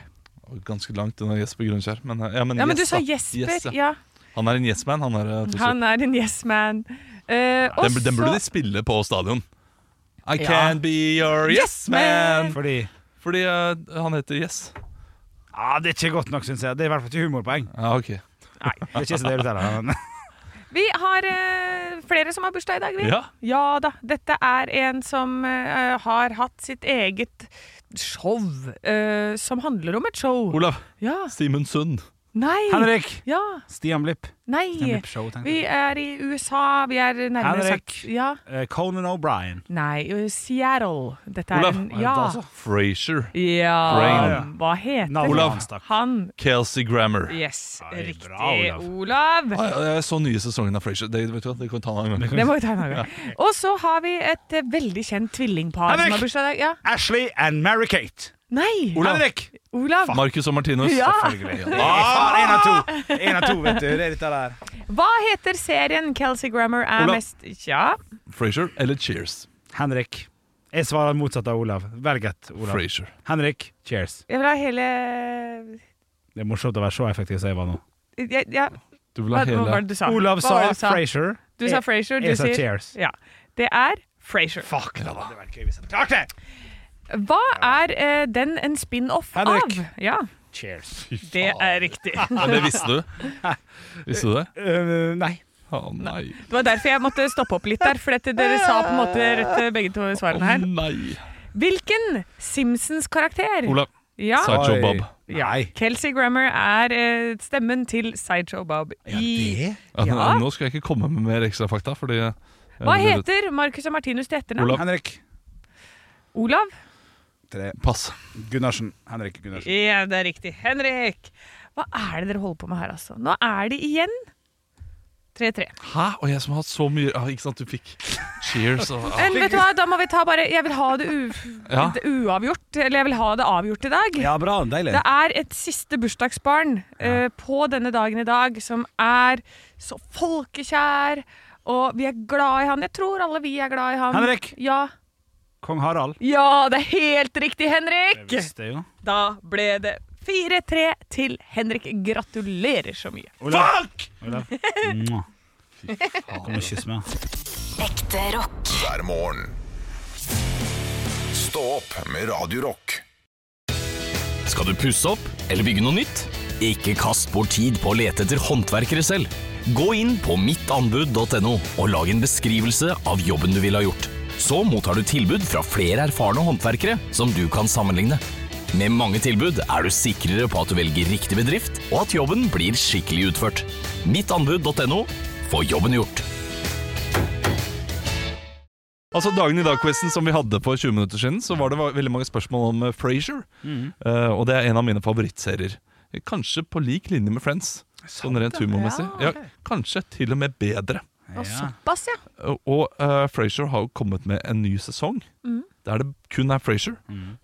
Speaker 6: Ganske langt unna Jesper Grønkjær. Men, eh, ja, men,
Speaker 5: Ja, men du
Speaker 6: yes,
Speaker 5: sa
Speaker 6: da.
Speaker 5: Jesper.
Speaker 6: Yes, ja.
Speaker 5: Ja,
Speaker 6: Han er en yes-man, han er eh, Tostrup.
Speaker 5: han er en yes man. Eh, og
Speaker 6: Den, den burde de
Speaker 5: så
Speaker 6: spille på stadion. I
Speaker 5: Ja.
Speaker 6: can be your yes man.
Speaker 7: Fordi
Speaker 6: Fordi eh, han heter Yes.
Speaker 7: ah, Det er ikke godt nok, syns jeg. Det er i hvert fall ikke humorpoeng.
Speaker 6: Ja, ok.
Speaker 7: Det er ikke så det du teller, men
Speaker 5: Vi har eh, flere som har bursdag i dag, vi.
Speaker 6: Ja.
Speaker 5: Ja da. Dette er en som eh, har hatt sitt eget show, eh, som handler om et show.
Speaker 6: Olav
Speaker 5: Ja.
Speaker 6: Simen Sund.
Speaker 5: Nei.
Speaker 7: Henrik!
Speaker 5: Ja.
Speaker 7: Stian Blipp.
Speaker 5: Nei.
Speaker 7: Stian Blipp Show, tenkte
Speaker 5: Vi
Speaker 7: jeg.
Speaker 5: er i USA. Vi er nærmere
Speaker 7: Henrik.
Speaker 5: sagt Ja.
Speaker 7: Eh, Conan O'Brien.
Speaker 5: Nei, eh, Seattle. Dette er
Speaker 6: Olav.
Speaker 5: en
Speaker 7: Ja,
Speaker 5: Ja.
Speaker 7: da så.
Speaker 6: Frazier.
Speaker 5: ja.
Speaker 7: Brain.
Speaker 5: Hva heter
Speaker 7: Navnet
Speaker 6: Olav.
Speaker 7: hans, takk.
Speaker 5: han?
Speaker 6: Kelsey Grammer.
Speaker 5: Yes,
Speaker 7: Nei,
Speaker 5: riktig.
Speaker 7: bra, Olav.
Speaker 5: Olav.
Speaker 6: Ah, ja, Jeg så nye sesongen av Frazier. Det, vet du hva, det kan vi ta en annen gang.
Speaker 5: Det må vi ta en annen gang. Og så har vi et eh, veldig kjent tvillingpar som
Speaker 7: Henrik!
Speaker 5: har bursdag i dag. Ja.
Speaker 7: Ashley and Mary-Kate.
Speaker 5: Nei!
Speaker 6: Olav.
Speaker 7: Henrik!
Speaker 5: Olav,
Speaker 6: Marcus og Martinus.
Speaker 5: Ja.
Speaker 7: Ah, en av to. En av to, vet du. Det er dette der.
Speaker 5: hva heter serien Kelsey Grammer er
Speaker 6: Olav.
Speaker 5: mest Tja.
Speaker 6: Frazier eller Cheers?
Speaker 7: Henrik. Jeg svarer motsatt av Olav. Velg et, Olav.
Speaker 6: Frazier.
Speaker 7: Henrik, cheers.
Speaker 5: Jeg vil ha hele
Speaker 7: Det er morsomt å være så effektiv som jeg var nå.
Speaker 5: ja, ja.
Speaker 6: Du vil
Speaker 5: Hva,
Speaker 6: ha
Speaker 5: hva var
Speaker 6: hele
Speaker 5: det du sa?
Speaker 7: Olav
Speaker 5: Hva
Speaker 7: sa
Speaker 5: var det
Speaker 7: Frasier.
Speaker 5: Du sa Frasier. Du
Speaker 7: Jeg sa
Speaker 5: sier
Speaker 7: Cheers.
Speaker 5: Ja. Det er Frasier.
Speaker 7: Fuck, det hadde vært gøy hvis jeg hadde klart det!
Speaker 5: Hva er eh, den en spin-off av?
Speaker 7: Henrik.
Speaker 5: Ja,
Speaker 7: Cheers.
Speaker 5: det er riktig. Det
Speaker 6: Ja, Det visste du. Visste du det?
Speaker 7: Øh, nei.
Speaker 6: Å nei.
Speaker 5: var derfor jeg måtte stoppe opp litt der, for dette, dere sa på en måte rett eh, begge to
Speaker 6: Å
Speaker 5: svarene her.
Speaker 6: nei.
Speaker 5: Hvilken Simpsons-karakter?
Speaker 6: Olav.
Speaker 5: Ja.
Speaker 6: Sideshow
Speaker 7: Oi.
Speaker 6: Bob.
Speaker 5: ja. Kelsey Grammer er eh, stemmen til Sideshow Bob i
Speaker 6: Ja, eh,
Speaker 5: Ja.
Speaker 6: Nå skal jeg ikke komme med mer ekstrafakta, fordi eh, jeg-
Speaker 5: Hva
Speaker 6: jeg-
Speaker 5: heter Marcus og Martinus til etternavn?
Speaker 6: Olav.
Speaker 7: Henrik.
Speaker 5: Olav?
Speaker 7: Tre.
Speaker 6: Pass.
Speaker 7: Gunnarsen. Henrik Gunnarsen.
Speaker 5: Ja, det er riktig. Henrik! Hva er det dere holder på med her, altså? Nå er det igjen 3-3.
Speaker 6: Hæ? Og jeg som har hatt så mye ah, Ikke sant, du fikk cheers og ah.
Speaker 5: Men Eh, vet du hva, da må vi ta bare Jeg vil ha det, u
Speaker 6: Ja.
Speaker 5: det uavgjort. Eller jeg vil ha det avgjort i dag.
Speaker 7: Ja, bra. Deilig.
Speaker 5: Det er et siste bursdagsbarn eh, på denne dagen i dag som er så folkekjær, og vi er glad i han. Jeg tror alle vi er glad i han.
Speaker 7: Henrik!
Speaker 5: Ja,
Speaker 7: Kong Harald.
Speaker 5: ja det er helt riktig, Henrik!
Speaker 7: Visste jo.
Speaker 5: Da ble det 4-3 til Henrik. Gratulerer så mye.
Speaker 7: Olav. Fuck! Olav. Mwah. Kom og kyss altså. meg.
Speaker 8: Ekte rock.
Speaker 4: hver morgen. Stå opp med Radio Rock.
Speaker 10: Skal du pusse opp eller bygge noe nytt? Ikke kast bort tid på å lete etter håndverkere selv. Gå inn på mittanbud.no og lag en beskrivelse av jobben du ville ha gjort. Så mottar du tilbud fra flere erfarne håndverkere som du kan sammenligne. Med mange tilbud er du sikrere på at du velger riktig bedrift, og at jobben blir skikkelig utført. Mittanbud.no få jobben gjort.
Speaker 6: Altså Dagen i dag-quizen som vi hadde for 20 minutter siden, så var det va- veldig mange spørsmål om eh, Frasier.
Speaker 7: Mhm.
Speaker 6: Eh, og det er en av mine favorittserier. Kanskje på lik linje med Friends. Sånn rent humormessig. Ja, kanskje til og med bedre.
Speaker 5: Og såpass, ja.
Speaker 6: Eh, Og uh, Frasier har jo kommet med en ny sesong. Der det kun er Frasier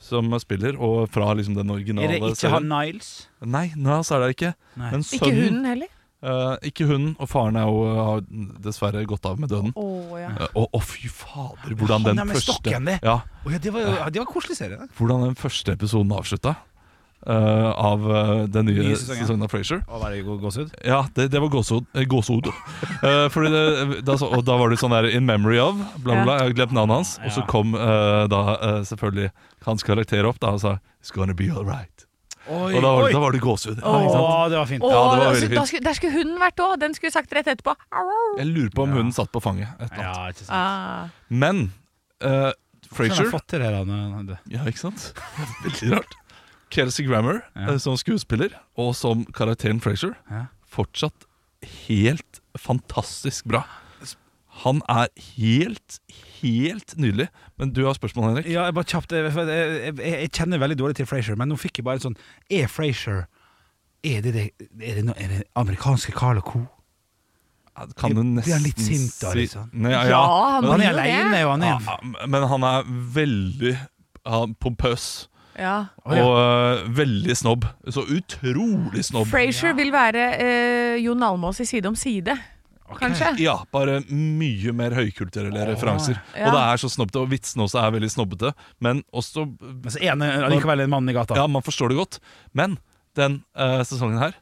Speaker 6: som spiller, og fra liksom den originale
Speaker 7: Mm. Er det ikke han Niles?
Speaker 6: Nei, Niles er det ikke.
Speaker 7: Nei.
Speaker 6: Men
Speaker 5: Ikke
Speaker 6: sønnen
Speaker 5: hunden heller.
Speaker 6: eh, ikke hunden, og faren er jo, har dessverre gått av med døden.
Speaker 5: Å ja.
Speaker 6: Eh, Og å, fy fader,
Speaker 7: Han
Speaker 6: hvordan den
Speaker 7: er med
Speaker 6: første
Speaker 7: stokken, det.
Speaker 6: Ja,
Speaker 7: Å ja, det var jo det var en koselig serie. det.
Speaker 6: hvordan den første episoden avslutta. eh, av eh, den nye,
Speaker 7: Nye sesongen,
Speaker 6: sesongen,
Speaker 7: ja.
Speaker 6: av Frasier.
Speaker 7: Å, var det gå- gåsehud?
Speaker 6: Ja, det, det var gåsehud. eh, gåsehud. Eh, fordi det, da, så- og da var det sånn der In memory of, bla, bla, bla. Jeg har glemt navnet hans. Og så kom eh, da eh, selvfølgelig hans karakter opp da og sa It's gonna be alright.
Speaker 7: Oi,
Speaker 6: Og da var,
Speaker 7: oi.
Speaker 6: da var det gåsehud. Ja, ikke sant?
Speaker 7: Å, det var fint.
Speaker 5: Å,
Speaker 6: Ja, det var veldig
Speaker 5: altså, da skulle, der skulle hunden vært òg. Den skulle sagt rett etterpå. Au, au.
Speaker 6: Jeg lurer på om hunden satt på fanget. Et eller annet.
Speaker 7: Ja, ikke sant.
Speaker 5: Ah.
Speaker 6: Men
Speaker 7: Hvordan har
Speaker 6: eh,
Speaker 7: han
Speaker 6: Frasier
Speaker 7: fått til det da? når han-
Speaker 6: Ja, ikke sant? Veldig rart. Kelsey Grammer
Speaker 7: Ja.
Speaker 6: eh, som skuespiller og som karakteren Frazier
Speaker 7: Ja.
Speaker 6: fortsatt helt fantastisk bra. Han er helt, helt nydelig. Men du har spørsmål, Henrik.
Speaker 7: Ja, jeg bare kjapt eh, for jeg, jeg, jeg, jeg kjenner veldig dårlig til Frasier, men nå fikk jeg bare en sånn Er Frasier er det, det, er det, no, er det amerikanske Carl Co?
Speaker 6: Kan du nesten
Speaker 7: Blir han litt sint da,
Speaker 6: si-
Speaker 7: liksom?
Speaker 6: Nei, ja,
Speaker 5: Ja,
Speaker 6: ja.
Speaker 7: Han
Speaker 5: han
Speaker 7: er
Speaker 5: blir jo
Speaker 7: aleine,
Speaker 5: det.
Speaker 7: jo. Han er
Speaker 6: Ja, men han er veldig ja, pompøs.
Speaker 5: Ja.
Speaker 7: Å, ja.
Speaker 6: Og øh, veldig snobb. Så utrolig snobb.
Speaker 5: Frasier vil være eh, Jon Almaas i Side om side, kanskje.
Speaker 6: Ja, bare mye mer høykulturelle referanser.
Speaker 5: Ja.
Speaker 6: Og det er så snobbete, og vitsene også er veldig snobbete. Men også
Speaker 7: Men så er han eh, allikevel en mann i gata.
Speaker 6: Ja, man forstår det godt. Men den eh, sesongen her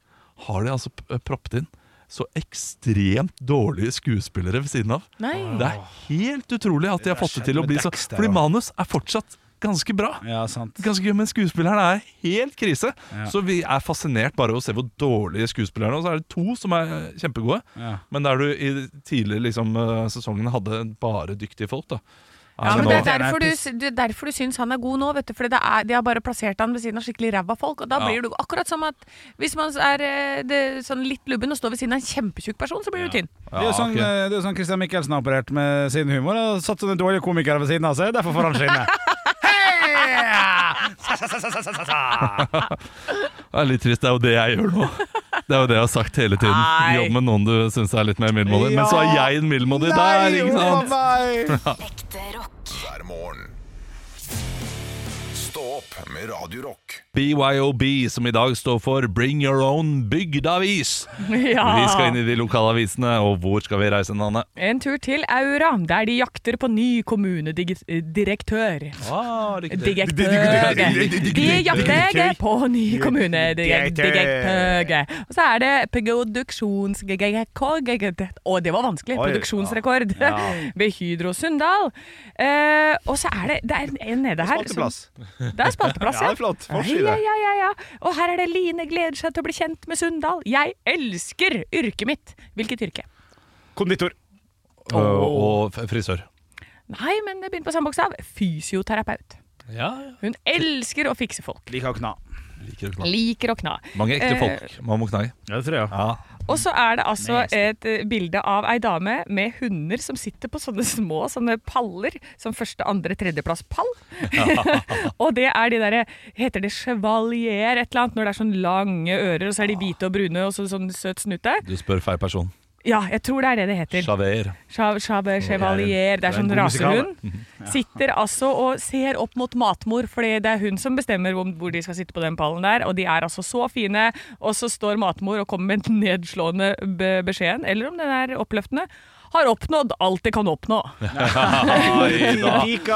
Speaker 6: har de altså p- proppet inn så ekstremt dårlige skuespillere ved siden av.
Speaker 5: Nei.
Speaker 6: Det er helt utrolig at de har
Speaker 7: Det har
Speaker 6: fått det
Speaker 7: skjedd
Speaker 6: til å
Speaker 7: med
Speaker 6: bli så
Speaker 7: Dexter,
Speaker 6: Fordi
Speaker 7: da.
Speaker 6: manus er fortsatt ganske bra.
Speaker 7: Ja, sant.
Speaker 6: Ganske gøy, men skuespillerne er helt krise.
Speaker 7: Ja.
Speaker 6: Så vi er fascinert bare av å se hvor dårlige skuespillerne er. Og så er det to som er eh, kjempegode,
Speaker 7: Ja.
Speaker 6: men der du i tidligere liksom, eh, sesongen hadde bare dyktige folk, da. Altså,
Speaker 5: Ja, men
Speaker 6: nå-
Speaker 5: det er
Speaker 7: nå-
Speaker 5: derfor du, det er derfor du syns han er god nå, vet du. For det er, de har bare plassert han ved siden av skikkelig ræva folk. Og da
Speaker 6: Ja.
Speaker 5: blir du akkurat som at hvis man er eh, det, sånn litt lubben og står ved siden av en kjempetjukk person, så blir du tynn.
Speaker 7: Det er jo sånn,
Speaker 6: ok.
Speaker 7: eh, det er jo sånn Christian Michelsen har operert med sin humor. Og satt sånne dårlige komikere ved siden av seg. Derfor får han skinne. Hei! Sa, sa, sa, sa, sa, sa, sa.
Speaker 6: Det er litt trist, det er jo det jeg gjør nå. Det er jo det jeg har sagt hele tiden.
Speaker 5: Nei.
Speaker 6: Jobb med noen du syns er litt mer middelmådig. Men så er
Speaker 7: Ja.
Speaker 6: jeg en middelmådig der,
Speaker 7: Nei,
Speaker 6: ikke
Speaker 7: å,
Speaker 6: sant?
Speaker 7: nei.
Speaker 8: Ekte rock.
Speaker 4: hver morgen. Stå opp med Radio Rock.
Speaker 6: BYOB, som i dag står for Bring Your Own Bygdavis.
Speaker 5: Ja.
Speaker 6: Vi skal inn i de lokale avisene, og hvor skal vi reise, Nanne?
Speaker 5: En tur til Aura, der de jakter på ny kommunedirektør. Direktøge. De jakter på ny kommunedirektøge. Og så er det produksjonsrekord Å, det var vanskelig.
Speaker 7: Oi,
Speaker 5: Produksjonsrekord
Speaker 7: ja.
Speaker 5: ved Hydro Sunndal. Eh, Og så er det Det er en- en nede her. som-
Speaker 7: Spalteplass.
Speaker 5: Det er spalteplass,
Speaker 7: Ja, det er flott. Forside.
Speaker 5: Ja, ja, ja, ja. Og her er det Line gleder seg til å bli kjent med Sunndal. Jeg elsker yrket mitt. Hvilket yrke?
Speaker 7: Konditor.
Speaker 6: Og f- frisør.
Speaker 5: Nei, men det begynner på samme bokstav. Fysioterapeut. Hun elsker å fikse folk.
Speaker 7: Liker å kna.
Speaker 6: Liker å kna.
Speaker 5: Liker å kna.
Speaker 6: Mange ekte
Speaker 5: Eh,
Speaker 6: folk. Man må knai.
Speaker 7: Ja, det tror jeg.
Speaker 6: Ja.
Speaker 5: Og så er det altså et eh, bilde av ei dame med hunder som sitter på sånne små sånne paller, som første, andre, tredjeplass pall. og det er de derre Heter det chevalier et eller annet? Når det er sånn lange ører, og så er de hvite og brune, og så sånn søt snute.
Speaker 6: Du spør feil person.
Speaker 5: Ja, jeg tror det er det det heter.
Speaker 6: Chaver.
Speaker 5: Cha- cha- Chevalier. Det er sånn
Speaker 7: god musikal,
Speaker 5: rasehund. Sitter altså og ser opp mot matmor, fordi det er hun som bestemmer om- hvor de skal sitte på den pallen der. Og de er altså så fine. Og så står matmor og kommer med den nedslående be beskjeden, eller om den er oppløftende. Har oppnådd alt de kan oppnå.
Speaker 6: Oi, da.
Speaker 7: Liker.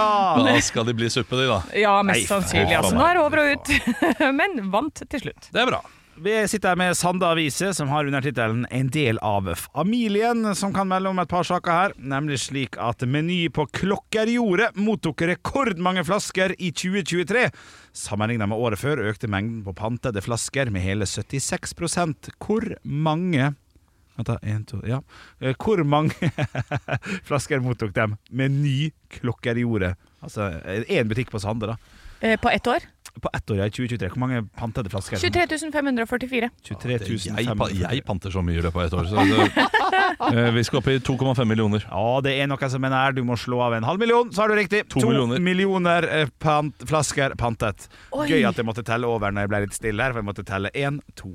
Speaker 6: da skal de bli suppe, de, da.
Speaker 5: Ja, mest
Speaker 6: Nei,
Speaker 5: sannsynlig.
Speaker 6: faen
Speaker 5: Altså,
Speaker 6: meg.
Speaker 5: nå er det over og ut. Men vant til slutt.
Speaker 6: Det er bra.
Speaker 7: Vi sitter her med Sande Avise, som har under tittelen 'En del av familien', som kan melde om et par saker her. Nemlig slik at Meny på Klokkerjordet mottok rekordmange flasker i 2023. Sammenlignet med året før økte mengden på pantede flasker med hele 76 Hvor mange Vent, da. En, to, ja. Eh, Hvor mange flasker mottok dem? Meny Klokkerjordet. Altså én butikk på Sande, da.
Speaker 5: Eh, På ett år
Speaker 7: På ett år, ja, i 2023. Hvor mange pantede flasker?
Speaker 5: 23 544.
Speaker 7: 23
Speaker 6: Det-
Speaker 7: 500.
Speaker 6: Jeg, pa- jeg panter så mye i løpet av et år. Så det, Eh, vi skal opp i 2,5 millioner.
Speaker 7: Ja, det er noe som er nær. Du må slå av en halv million, så har du riktig.
Speaker 6: To millioner.
Speaker 7: millioner, eh, pant, flasker pantet.
Speaker 5: Oi.
Speaker 7: Gøy at jeg måtte telle over når jeg ble litt stille her, for jeg måtte telle én, to.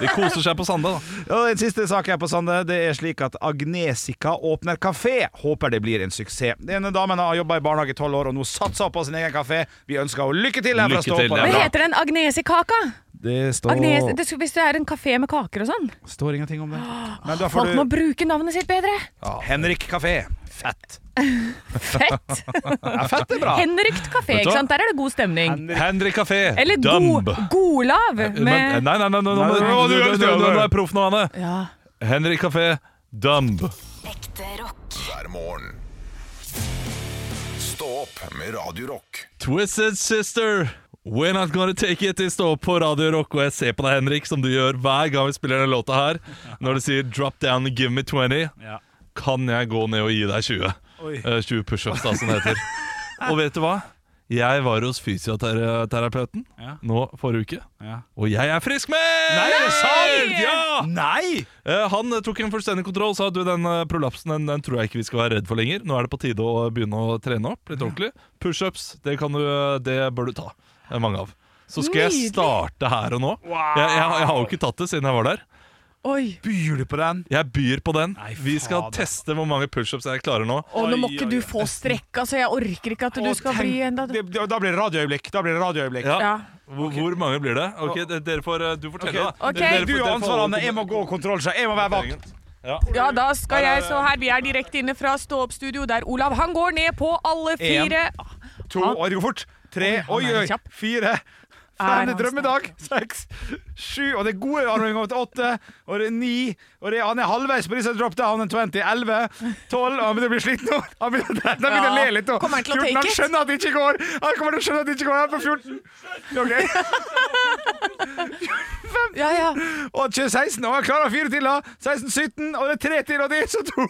Speaker 6: De koser seg på Sande, da.
Speaker 7: Og den siste saken her på Sande, det er slik at Agnesika åpner kafé. Håper det blir en suksess. Denne damen har jobba i barnehage i tolv år, og nå satser hun på sin egen kafé. Vi ønsker henne lykke til her fra
Speaker 6: Lykke til,
Speaker 7: Ståpå.
Speaker 6: det er
Speaker 5: Hva
Speaker 6: bra.
Speaker 5: heter den? Agnesi-kaka?
Speaker 7: Det står,
Speaker 5: Agnes, det, hvis det er en kafé med kaker og sånn.
Speaker 7: står ingenting om det. Men da
Speaker 5: Folk
Speaker 7: får
Speaker 5: må
Speaker 7: du
Speaker 5: bruke navnet sitt bedre.
Speaker 7: Henrik kafé. Fett.
Speaker 5: Fett!
Speaker 7: Ja, fett er bra.
Speaker 5: Henrykt
Speaker 6: du
Speaker 5: kafé,
Speaker 6: hva?
Speaker 5: ikke sant? Der er det god stemning.
Speaker 6: Henrik Kafé.
Speaker 5: Eller
Speaker 6: Dumb. Eh,
Speaker 5: god, godlav
Speaker 6: Men,
Speaker 5: med
Speaker 6: nei, nei, nei, nå- nå må-
Speaker 7: Nei, nei,
Speaker 6: nå-
Speaker 7: nei, nei,
Speaker 6: nå- nå- nå er
Speaker 7: nei.
Speaker 6: jeg proff nå, Anne.
Speaker 5: ja.
Speaker 6: Henrik Kafé, Dumb.
Speaker 8: Ekte rock.
Speaker 4: hver morgen. Stå opp med Radio Rock.
Speaker 6: Twisted Sister. We're not gonna take it. De står på Radio Rock, og jeg ser på deg, Henrik, som du gjør hver gang vi spiller den låta her. Når du sier 'drop down and give me 20',
Speaker 7: Ja.
Speaker 6: kan jeg gå ned og gi deg 20.
Speaker 7: Oi.
Speaker 6: Eh, 20 pushups, da, som det heter. og vet du hva? Jeg var hos fysioterapeuten
Speaker 7: Ja.
Speaker 6: nå forrige uke,
Speaker 7: Ja.
Speaker 6: og jeg er frisk med!
Speaker 7: Nei, er det sant?
Speaker 6: Ja!
Speaker 7: Nei!
Speaker 6: Eh, Han eh, tok en fullstendig kontroll og sa du, den eh, prolapsen den, den tror jeg ikke vi skal være redd for lenger. Nå er det på tide å begynne å trene opp litt ordentlig. Pushups, det, kan du, eh, det bør du ta. eh, Mange av. Så skal jeg
Speaker 5: Nydelig.
Speaker 6: starte her og nå. Jeg, jeg, jeg har jo ikke tatt det siden jeg var der.
Speaker 5: Oi.
Speaker 7: Byr du på den?
Speaker 6: Jeg byr på den.
Speaker 7: Nei,
Speaker 6: Vi skal
Speaker 7: fader.
Speaker 6: teste hvor mange pushups jeg klarer nå.
Speaker 5: Å, nå må
Speaker 7: Oi,
Speaker 5: ikke
Speaker 7: oi,
Speaker 5: du
Speaker 7: oi.
Speaker 5: få strekk, altså. Jeg orker ikke at du
Speaker 7: Å,
Speaker 5: skal
Speaker 7: tenk-
Speaker 5: bli enda
Speaker 7: det, det, Da blir det radioøyeblikk. Da blir det radioøyeblikk.
Speaker 6: Ja.
Speaker 5: Ja.
Speaker 6: Hvor, hvor mange blir det? Ok, d- dere får, eh, Du får
Speaker 7: Ok,
Speaker 6: telle, da.
Speaker 5: Ok.
Speaker 6: Dere- dere
Speaker 7: Du
Speaker 6: får-
Speaker 7: har
Speaker 6: dere får
Speaker 7: ansvaret,
Speaker 6: holde
Speaker 7: Anne. Jeg må gå kontrollsjef. Jeg må være vakt.
Speaker 6: Ja.
Speaker 5: ja, da skal jeg så her. Vi er direkte inne fra Stå opp-studio, der Olav han går ned på alle
Speaker 7: En.
Speaker 5: fire.
Speaker 7: To, oi, det går fort. Tre, oi,
Speaker 5: Oi, han er
Speaker 7: oi,
Speaker 5: kjapp.
Speaker 7: fire.
Speaker 5: Er
Speaker 7: Fem,
Speaker 5: han
Speaker 7: drømmedag. Seks, sju, og det er gode armene over til åtte. Og det er ni, og det er, han er halvveis på disse drop down and 20. Elleve, tolv, og han begynner å bli sliten nå. Han begynner, han begynner å
Speaker 5: Ja.
Speaker 7: le litt nå.
Speaker 5: Kommer han til
Speaker 7: 14,
Speaker 5: å take
Speaker 7: han
Speaker 5: it?
Speaker 7: skjønner at det ikke går. Han kommer til å skjønne at det ikke går. Han er på 14. Ok.
Speaker 5: Ja, ja.
Speaker 7: Og kjører 16, og han klarer fire til, da. 16, 17, og det er tre til, og det er så to.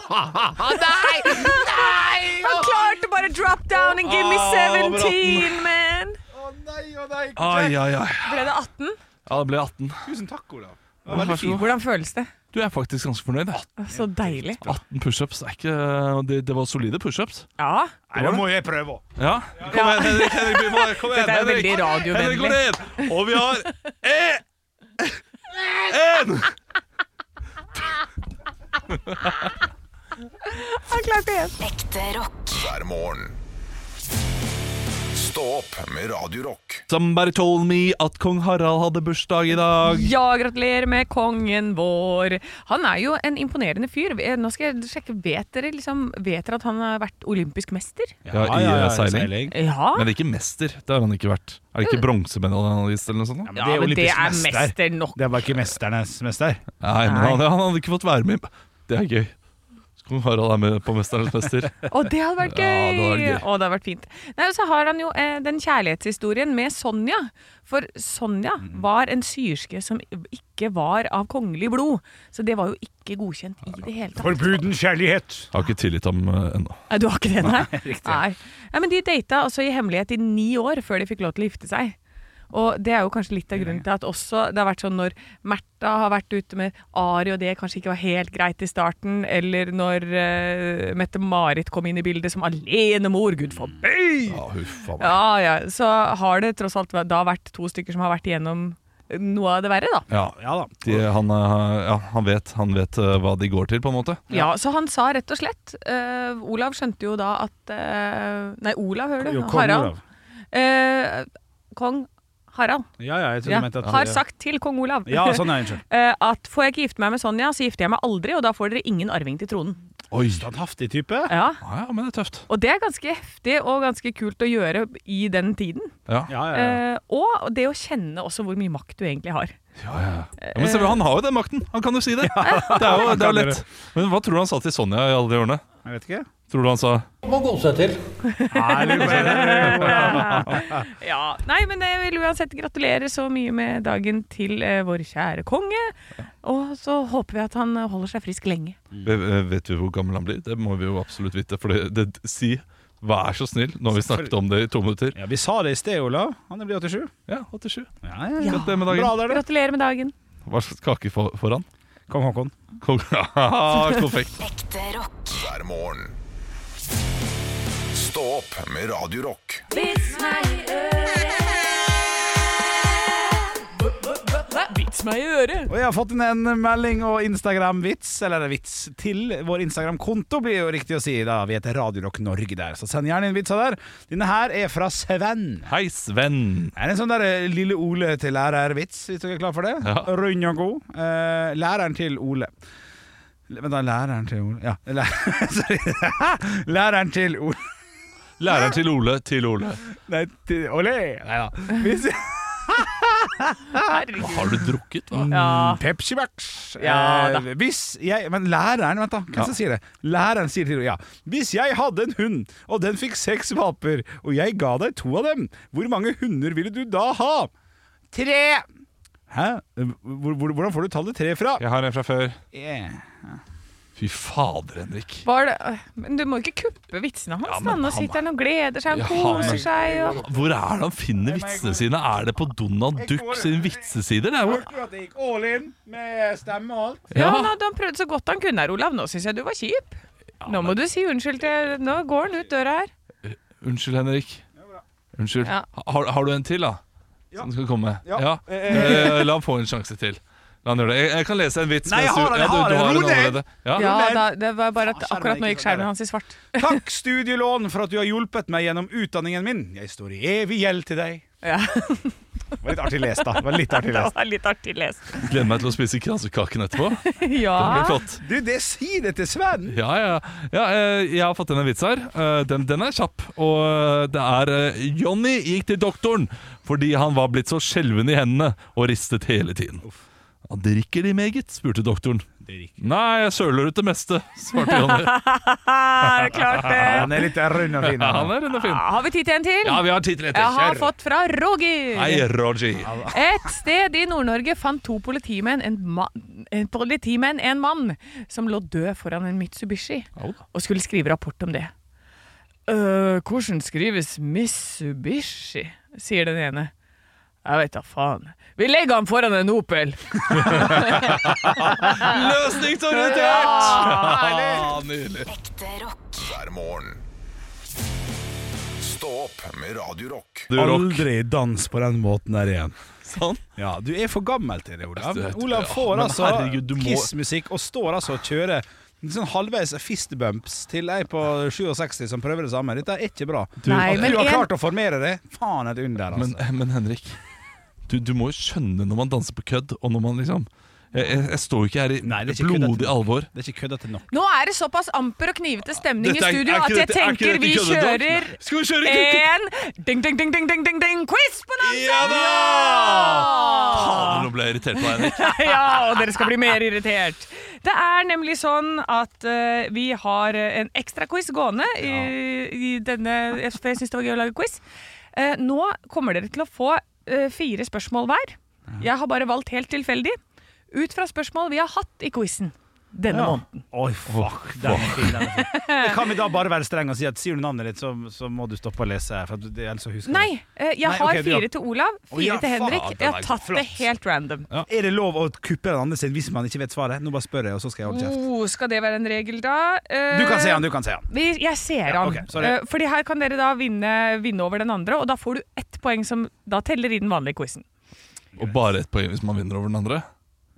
Speaker 5: Nei! Nei! Han klarte bare drop down and give me
Speaker 6: Ah, over
Speaker 5: 17, man.
Speaker 7: Å nei, å nei.
Speaker 6: Ai, ai, ai.
Speaker 5: Ble det 18?
Speaker 6: Ja, det ble 18.
Speaker 7: Tusen takk, Olav.
Speaker 6: Vær så god.
Speaker 5: Hvordan føles det?
Speaker 6: Du er faktisk ganske fornøyd. jeg.
Speaker 5: Så deilig.
Speaker 6: 18 pushups er ikke eh, Det, det var solide pushups.
Speaker 5: Ja.
Speaker 7: Nei, da må jeg prøve òg.
Speaker 6: Ja. Kom igjen, Henrik. Henrik bli med. Kom igjen,
Speaker 5: Dette er
Speaker 6: Henrik.
Speaker 5: veldig
Speaker 6: Henrik går
Speaker 5: radiovennlig.
Speaker 6: ned. Og vi har E! én En!
Speaker 5: Han klarte igjen.
Speaker 8: Ekte rock.
Speaker 4: hver morgen. Stå opp med Radio Rock.
Speaker 6: Somebody told me at kong Harald hadde bursdag i dag.
Speaker 5: Ja, gratulerer med kongen vår. Han er jo en imponerende fyr. Eh, Nå skal jeg sjekke, vet dere, liksom, vet dere at han har vært olympisk mester?
Speaker 6: Ja, i eh, seiling. Mm.
Speaker 5: Ja.
Speaker 6: Men det er ikke mester. Det har han ikke vært. Er det ikke bronsemedalist eller noe sånt? da?
Speaker 5: Ja, men det er mester nok.
Speaker 7: Det var ikke mesternes mester.
Speaker 6: Nei, men han, han hadde ikke fått være med. Det er gøy. Så Kong Harald er med på Mesternes mester.
Speaker 5: Og det hadde vært gøy!
Speaker 6: Ja, det hadde vært gøy.
Speaker 5: Å, det hadde vært fint. Nei, og så har han jo eh, den kjærlighetshistorien med Sonja. For Sonja var en syerske som ikke var av kongelig blod. Så det var jo ikke godkjent i det hele tatt.
Speaker 7: Forbuden kjærlighet.
Speaker 6: Jeg har ikke tilgitt ham eh, ennå.
Speaker 5: Nei, du har ikke det, nei? Nei. nei men de data altså i hemmelighet i ni år før de fikk lov til å gifte seg. Og det er jo kanskje litt av grunnen til at også det har vært sånn når Märtha har vært ute med Ari, og det kanskje ikke var helt greit i starten, eller når eh, Mette-Marit kom inn i bildet som alenemor, gud forby!
Speaker 6: Ja, huff a meg.
Speaker 5: Ja, ja, så har det tross alt vært- da vært to stykker som har vært igjennom eh, noe av det verre, da.
Speaker 6: Ja.
Speaker 7: Ja da.
Speaker 6: De, han, eh, ja, han vet, han vet eh, hva de går til, på en måte.
Speaker 5: Ja, så han sa rett og slett eh, Olav skjønte jo da at eh, Nei, Olav, hører du?
Speaker 7: Jo, kong
Speaker 5: Harald.
Speaker 7: Olav.
Speaker 5: Eh, kong Harald
Speaker 7: Ja, ja, jeg trodde
Speaker 5: ja,
Speaker 7: du mente at
Speaker 5: har sagt til kong Olav
Speaker 7: Ja, sånn er unnskyld.
Speaker 5: eh, at får jeg ikke gifte meg med Sonja, så gifter jeg meg aldri, og da får dere ingen arving til tronen.
Speaker 6: Oi.
Speaker 7: Standhaftig type.
Speaker 5: Ja,
Speaker 6: Ja, ja, men det er tøft.
Speaker 5: Og det er ganske heftig og ganske kult å gjøre i den tiden.
Speaker 6: Ja.
Speaker 7: Ja, ja, ja.
Speaker 5: Eh, og det å kjenne også hvor mye makt du egentlig har.
Speaker 6: Ja, ja. Ja, men se, han har jo den makten. Han kan jo si det. Det er jo det er
Speaker 7: kan
Speaker 6: lett. Men hva tror du han sa til Sonja i alle de årene?
Speaker 7: Jeg vet ikke.
Speaker 6: Tror du han sa
Speaker 5: Ja, Nei, men jeg vil uansett gratulere så mye med dagen til eh, vår kjære konge. Og så håper vi at han eh, holder seg frisk lenge.
Speaker 7: Mm.
Speaker 6: "Ve- eh, Vet vi hvor gammel han blir? Det må vi jo absolutt vite. For det, det, si vær så snill, nå har vi snakket om det i to minutter.
Speaker 7: Ja, vi sa det i sted, Olav. Han er blitt 87.
Speaker 6: Ja, 87.
Speaker 7: Ja, ja.
Speaker 6: Gratulerer med
Speaker 7: Bra
Speaker 6: dagen.
Speaker 7: der, du.
Speaker 5: Gratulerer med dagen.
Speaker 6: Hva slags kake for, foran? Ah,
Speaker 7: Kong Haakon.
Speaker 6: Konfekt.
Speaker 8: Ekte rock.
Speaker 4: hver morgen. Stå opp med Radio Rock.
Speaker 5: Vits meg i øret!
Speaker 7: Og jeg har fått inn en melding og Instagram-vits, eller vits til vår Instagram-konto, blir jo riktig å si. da Vi heter Radio Rock Norge der, så send gjerne inn vitser der. Denne her er fra Sven.
Speaker 6: Hei, Sven.
Speaker 7: Det er en sånn der eh, lille Ole til lærer-vits, hvis dere er klar for det.
Speaker 6: Ja.
Speaker 7: Rund og god. Eh, læreren til Ole. L- Vent, da. Læreren til Ole Ja, læ sorry. læreren til Ole
Speaker 6: Læreren til Ole til Ole.
Speaker 7: Nei, til Ole! Nei da. Hvis
Speaker 6: Hva har du drukket, hva?
Speaker 7: Mm.
Speaker 5: Ja.
Speaker 7: Pepsi Max.
Speaker 5: Ja, da.
Speaker 7: eh, hvis jeg Men læreren, vent da. Hvem som sier det? Læreren sier til Ja. Hvis jeg hadde en hund, og den fikk seks valper, og jeg ga deg to av dem, hvor mange hunder ville du da ha? Tre! Hæ? Hvor, hvor, hvordan får du tallet tre fra?
Speaker 6: Jeg har en fra før.
Speaker 7: Yeah.
Speaker 6: Fy fader, Henrik.
Speaker 5: Var det, øh, men du må ikke kuppe vitsene hans.
Speaker 6: Ja, men
Speaker 5: da. Nå
Speaker 6: han-
Speaker 5: sitter han og gleder seg,
Speaker 6: Ja,
Speaker 5: han
Speaker 6: men-
Speaker 5: koser seg. Og...
Speaker 6: Hvor er det han finner vitsene sine? Er det på Donald Duck sine vitsesider? Det er jo
Speaker 7: at jeg gikk all in med stemme og alt?
Speaker 5: Ja, men han, han prøvde så godt han kunne her, Olav. Nå syns jeg du var kjip. Nå må du si unnskyld til Nå går han ut døra her.
Speaker 6: Unnskyld, Henrik. Unnskyld.
Speaker 5: Ja.
Speaker 6: Har, har du en til, da? Som skal komme? Ja.
Speaker 7: Ja. eh,
Speaker 6: Eh, La ham få en sjanse til. La han gjøre det. Jeg, jeg kan lese en vits.
Speaker 7: Nei, jeg
Speaker 6: mens du-
Speaker 7: har den, jeg
Speaker 6: du-
Speaker 7: har
Speaker 6: du
Speaker 7: den. Ro
Speaker 6: den
Speaker 7: ned!
Speaker 6: allerede. Ja.
Speaker 5: Ja, da, det var bare at
Speaker 7: Faen, skjermen
Speaker 5: akkurat nå
Speaker 7: gikk fra dere.
Speaker 5: gikk skjermen hans i svart.
Speaker 7: Takk, studielån, for at du har hjulpet meg gjennom utdanningen min. Jeg står i evig gjeld til deg.
Speaker 5: Ja.
Speaker 7: Det var litt artig lest, da. Det var litt artig
Speaker 5: Det
Speaker 7: lest.
Speaker 5: var litt artig lest.
Speaker 6: Gleder meg til å spise kransekaken etterpå. Det blir
Speaker 5: Ja.
Speaker 6: flott.
Speaker 7: Du, det sier det til Sven!
Speaker 6: Ja, ja. ja eh, jeg har fått inn en vits her. Eh, Den, den er kjapp. Og eh, det er eh, Johnny gikk til doktoren fordi han var blitt så skjelven i hendene og ristet hele tiden. Ja, drikker de meget? spurte doktoren. Nei, jeg søler ut det meste, svarte Johnny.
Speaker 5: Er det klart det?
Speaker 7: Han er litt rund og fin.
Speaker 6: Ja,
Speaker 7: han.
Speaker 6: han er rund og fin.
Speaker 5: Har vi tid til en til?
Speaker 6: Ja, vi har tid til etter.
Speaker 5: Jeg har
Speaker 6: Kjør.
Speaker 5: fått fra Roger.
Speaker 6: Hei, Roger.
Speaker 5: Et sted i Nord-Norge fant to politimenn en, ma en politimenn en mann som lå død foran en Mitsubishi,
Speaker 6: Au da.
Speaker 5: og skulle skrive rapport om det. «Øh, hvordan skrives Mitsubishi? sier den ene. Jeg veit da faen. Vi legger han foran en Opel.
Speaker 6: Løsningsorientert! Ja, nydelig.
Speaker 8: Ekte rock.
Speaker 4: hver morgen. Stå opp med Radio Rock.
Speaker 6: Du, rock.
Speaker 7: Aldri dans på den måten der igjen.
Speaker 6: Sånn.
Speaker 7: Ja, Du er for gammel til det, Olav.
Speaker 6: Jeg vet-
Speaker 7: Olav
Speaker 6: Ja,
Speaker 7: får
Speaker 6: men
Speaker 7: altså
Speaker 6: herregud, du må-
Speaker 7: Kiss-musikk og står altså og kjører en sånn halvveis fistbumps til ei på 67 som prøver det samme. Dette er ikke bra. Du,
Speaker 5: Nei,
Speaker 7: At
Speaker 5: men
Speaker 7: du har
Speaker 5: en-
Speaker 7: klart å formere det, faen et under,
Speaker 6: Men,
Speaker 7: altså.
Speaker 6: men Henrik, du, du må jo skjønne når man danser på kødd, og når man liksom Jeg, jeg, jeg står jo ikke her i
Speaker 7: Nei, det er ikke kødd,
Speaker 6: blodig
Speaker 7: dette.
Speaker 6: alvor.
Speaker 7: det er ikke kødda til nok.
Speaker 5: Nå er det såpass amper og knivete stemning i
Speaker 6: Dette er-
Speaker 5: studio
Speaker 6: er ikke
Speaker 5: at jeg
Speaker 6: dette- er ikke
Speaker 5: tenker
Speaker 6: dette
Speaker 5: vi
Speaker 6: køddedag?
Speaker 5: kjører
Speaker 6: Skal vi kjøre kødd?
Speaker 5: en ding-ding-ding-ding-ding-ding-quiz på
Speaker 6: Ja da!
Speaker 5: Nansen!
Speaker 6: Fader, nå ble jeg irritert på deg, Henrik.
Speaker 5: ja, og dere skal bli mer irritert. Det er nemlig sånn at eh, vi har eh, en ekstra quiz gående i, i denne jeg- For jeg syns det var gøy å lage quiz. Eh, nå kommer dere til å få eh, fire spørsmål hver. Jeg har bare valgt helt tilfeldig ut fra spørsmål vi har hatt i quizen denne måneden.
Speaker 7: Oi, fuck. Den er fin, den er fin. Kan vi da bare være streng og si at sier du navnet ditt, så, så må du stoppe å lese? For at du, ellers så husker du.
Speaker 5: Nei, eh, jeg
Speaker 7: Nei,
Speaker 5: har
Speaker 7: ok, du har-
Speaker 5: fire til Olav, fire
Speaker 7: ja,
Speaker 5: til Henrik.
Speaker 7: faen, den
Speaker 5: jeg
Speaker 7: er
Speaker 5: har tatt
Speaker 7: flott.
Speaker 5: det helt random.
Speaker 7: Er det lov å kuppe den andre sin hvis man ikke vet svaret? Nå bare spør jeg, og så skal jeg holde kjeft.
Speaker 5: Oh, skal det være en regel, da? Eh,
Speaker 7: Du kan se han, du kan se han.
Speaker 5: Vi, jeg ser
Speaker 7: Ja,
Speaker 5: han.
Speaker 7: ok, sorry.
Speaker 5: Eh, fordi her kan dere da vinne, vinne over den andre, og da får du ett poeng som da teller i den vanlige quizen.
Speaker 6: Og bare ett poeng hvis man vinner over den andre.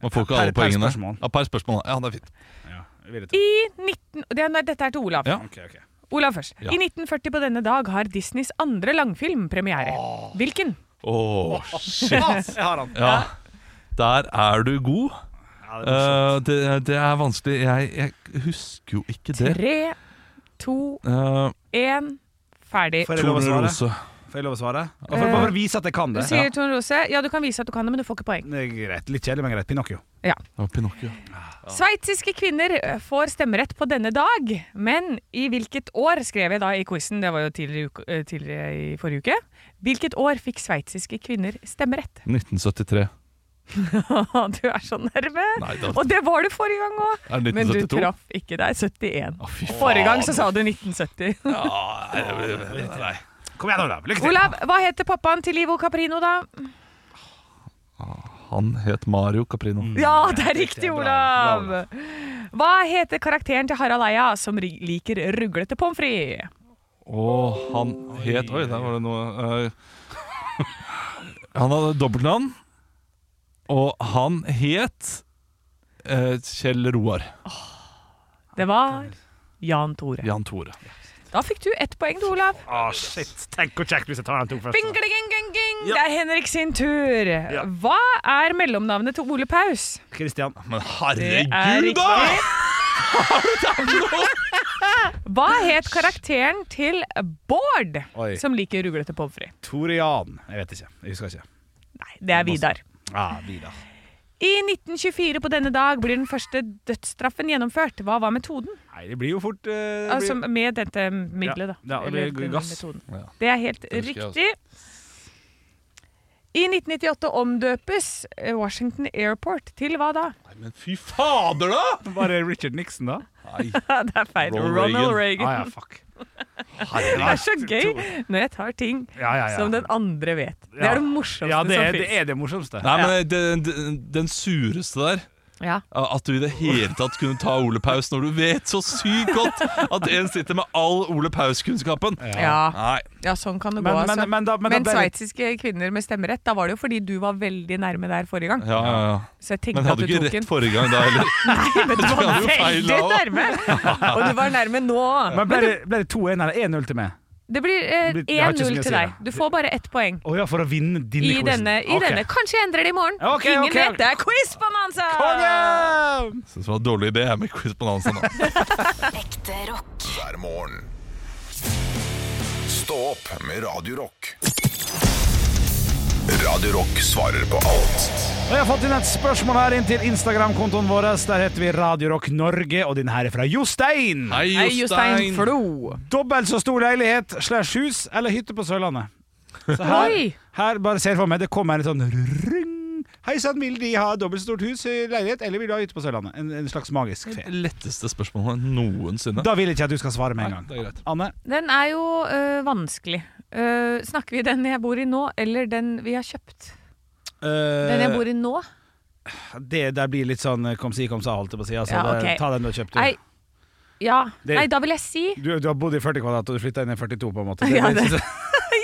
Speaker 6: Man får ikke
Speaker 7: Per-
Speaker 6: alle
Speaker 7: per
Speaker 6: poengene.
Speaker 7: spørsmål.
Speaker 6: Ja, per spørsmål. Ja, det er fint.
Speaker 5: I 19... Det er, nei, dette er til Olav.
Speaker 6: Ja.
Speaker 7: Ok, ok.
Speaker 5: Olav først.
Speaker 6: Ja.
Speaker 5: I 1940 på denne dag har Disneys andre langfilm premiere. Hvilken?
Speaker 6: Åh, shit.
Speaker 7: Ah, jeg har han.
Speaker 6: Ja. Der er du god. Eh, det, det er vanskelig. Jeg, jeg husker jo ikke det.
Speaker 5: Tre, to,
Speaker 6: Uh,
Speaker 5: én, ferdig.
Speaker 7: Får jeg lov å svare?
Speaker 6: Tone Rose.
Speaker 7: Får jeg lov å svare? Ja, for, bare for å vise at jeg kan
Speaker 5: Eh, Du
Speaker 7: det.
Speaker 5: sier Tone Rose. Ja, du kan vise at du kan det, men du får ikke poeng.
Speaker 7: Det er greit. Litt kjedelig, men greit. Pinocchio.
Speaker 5: Ja.
Speaker 6: Det var Pinocchio.
Speaker 5: Sveitsiske kvinner eh, får stemmerett på denne dag, men i hvilket år, skrev jeg da i quizen, det var jo tidligere, uke- eh, tidligere i forrige uke, hvilket år fikk sveitsiske kvinner stemmerett?
Speaker 6: 1973.
Speaker 5: du er så nærme!
Speaker 6: Nei, da
Speaker 5: Og det var du forrige gang òg!
Speaker 6: er det 1972.
Speaker 5: Men du traff ikke deg. 71.
Speaker 6: Å, fy faen.
Speaker 5: Forrige gang så sa du 1970.
Speaker 6: Ah,
Speaker 7: Kom igjen, Olav. Lykke til.
Speaker 5: Olav, hva heter pappaen til Ivo Caprino, da?
Speaker 6: Han het Mario Caprino.
Speaker 5: Ja, det er riktig,
Speaker 7: bra,
Speaker 5: Olav! Hva heter karakteren til Harald Eia som ri- liker ruglete pommes frites?
Speaker 6: Og han het Oi, der var det noe eh, Han hadde dobbeltnavn, og han het eh, Kjell Roar.
Speaker 5: Det var Jan Tore.
Speaker 6: Jan Tore.
Speaker 5: Da fikk du ett poeng, du, Olav.
Speaker 7: Å, Ah, shit. Tenk hvor kjekt hvis jeg tar den to
Speaker 5: Bing,
Speaker 7: først.
Speaker 5: gling, gling, gling, gling. Det er Henrik sin tur. Hva er mellomnavnet til Ole Paus?
Speaker 7: Kristian.
Speaker 6: Men
Speaker 5: er
Speaker 6: herregud,
Speaker 5: riktig.
Speaker 6: da!
Speaker 5: Hva het karakteren til Bård,
Speaker 7: Oi.
Speaker 5: som liker ruglete pommes frites?
Speaker 7: Torian. Jeg vet ikke. Jeg husker ikke.
Speaker 5: Nei, det er Vidar.
Speaker 7: Ah, Vidar.
Speaker 5: I 1924 på denne dag blir den første dødsstraffen gjennomført. Hva var metoden?
Speaker 7: Nei, det blir jo fort eh, det
Speaker 5: Altså
Speaker 7: blir...
Speaker 5: med dette middelet, da.
Speaker 7: Ja, ja, det blir
Speaker 5: Eller
Speaker 7: gass.
Speaker 5: metoden.
Speaker 6: Ja.
Speaker 5: Det er helt
Speaker 6: husker jeg også.
Speaker 5: riktig. I 1998 omdøpes eh, Washington Airport til hva da?
Speaker 6: Nei, men fy fader, da!
Speaker 7: Var det Richard Nixon, da?
Speaker 5: det er feil.
Speaker 6: Ronald
Speaker 5: Ronald Reagan.
Speaker 7: Ah, ja, fuck.
Speaker 5: Det er så gøy når jeg tar ting
Speaker 7: Ja, ja, ja.
Speaker 5: som den andre vet. Det
Speaker 7: Ja.
Speaker 5: er det morsomste
Speaker 7: Ja, det er
Speaker 5: som
Speaker 7: det,
Speaker 5: fins.
Speaker 7: er det morsomste.
Speaker 6: Nei, men den, den, den sureste der
Speaker 5: Ja.
Speaker 6: At du i det hele tatt kunne ta Ole Paus når du vet så sykt godt at en sitter med all Ole Paus-kunnskapen.
Speaker 5: Ja.
Speaker 6: Nei,
Speaker 5: ja, sånn kan det
Speaker 7: Men-
Speaker 5: gå.
Speaker 7: men-
Speaker 5: Altså.
Speaker 7: men da- men da ble det-
Speaker 5: sveitsiske kvinner med stemmerett, da var det jo fordi du var veldig nærme der forrige gang.
Speaker 6: ja, ja, ja.
Speaker 5: Så jeg tenkte
Speaker 6: Men hadde du
Speaker 5: at du
Speaker 6: ikke
Speaker 5: tok
Speaker 6: rett
Speaker 5: en
Speaker 6: forrige gang da heller?
Speaker 5: Nei, men du var
Speaker 6: hadde jo feil
Speaker 5: veldig
Speaker 6: da også.
Speaker 5: nærme! Og du var nærme nå.
Speaker 7: Men ble det, ble det 2-1 eller 1-0 til meg?
Speaker 5: Det blir eh,
Speaker 7: Det blir- jeg har ikke så mye å
Speaker 5: 1-0
Speaker 7: si,
Speaker 5: til deg.
Speaker 7: da.
Speaker 5: Du får bare ett poeng.
Speaker 7: Å ja, for å vinne denne
Speaker 5: I
Speaker 7: quizen.
Speaker 5: denne, i
Speaker 7: Ok.
Speaker 5: denne. Kanskje jeg endrer det i morgen.
Speaker 7: Ok,
Speaker 5: Ingen
Speaker 7: ok.
Speaker 5: vet det! Quiz-bonanza!
Speaker 7: Konge!
Speaker 6: Synes det var en dårlig idé jeg med quiz på dansen nå.
Speaker 8: Ekte rock.
Speaker 4: hver morgen. Stå opp med Radio Rock. Radio Rock svarer på alt.
Speaker 7: Og jeg har fått inn et spørsmål her inn til Instagram-kontoen vår. Der heter vi Radio Rock Norge, og den her er fra Jostein.
Speaker 6: Hei,
Speaker 5: Hei, Jostein
Speaker 6: Jostein!
Speaker 5: Flo.
Speaker 7: Dobbelt så stor leilighet slash hus eller hytte på Sørlandet. Så her,
Speaker 5: Oi.
Speaker 7: her bare ser jeg for meg, det kommer en sånn ring. Hei sann, vil De ha dobbelt så stort hus i leilighet, eller vil Du ha hytte på Sørlandet? En, en slags magisk fe.
Speaker 6: Letteste spørsmålet noensinne.
Speaker 7: Da vil jeg ikke at du skal svare med en
Speaker 6: Nei, det er
Speaker 7: gang.
Speaker 6: greit.
Speaker 7: Anne?
Speaker 5: Den er jo øh, vanskelig. Øh, snakker vi den jeg bor i nå, eller den vi har kjøpt? Den
Speaker 7: Eh,
Speaker 5: jeg bor i nå?
Speaker 7: Det der blir litt sånn eh, kom si, kom sa, holdt jeg på å si. Altså,
Speaker 5: Ja,
Speaker 7: det-
Speaker 5: ok.
Speaker 7: Ta den du har kjøpt. du.
Speaker 5: Nei, ja.
Speaker 7: Det-
Speaker 5: Nei, da vil jeg si
Speaker 7: Du, du har bodd i 40 kvadrat, og du flytta inn i 42, på en måte.
Speaker 5: Ja, det-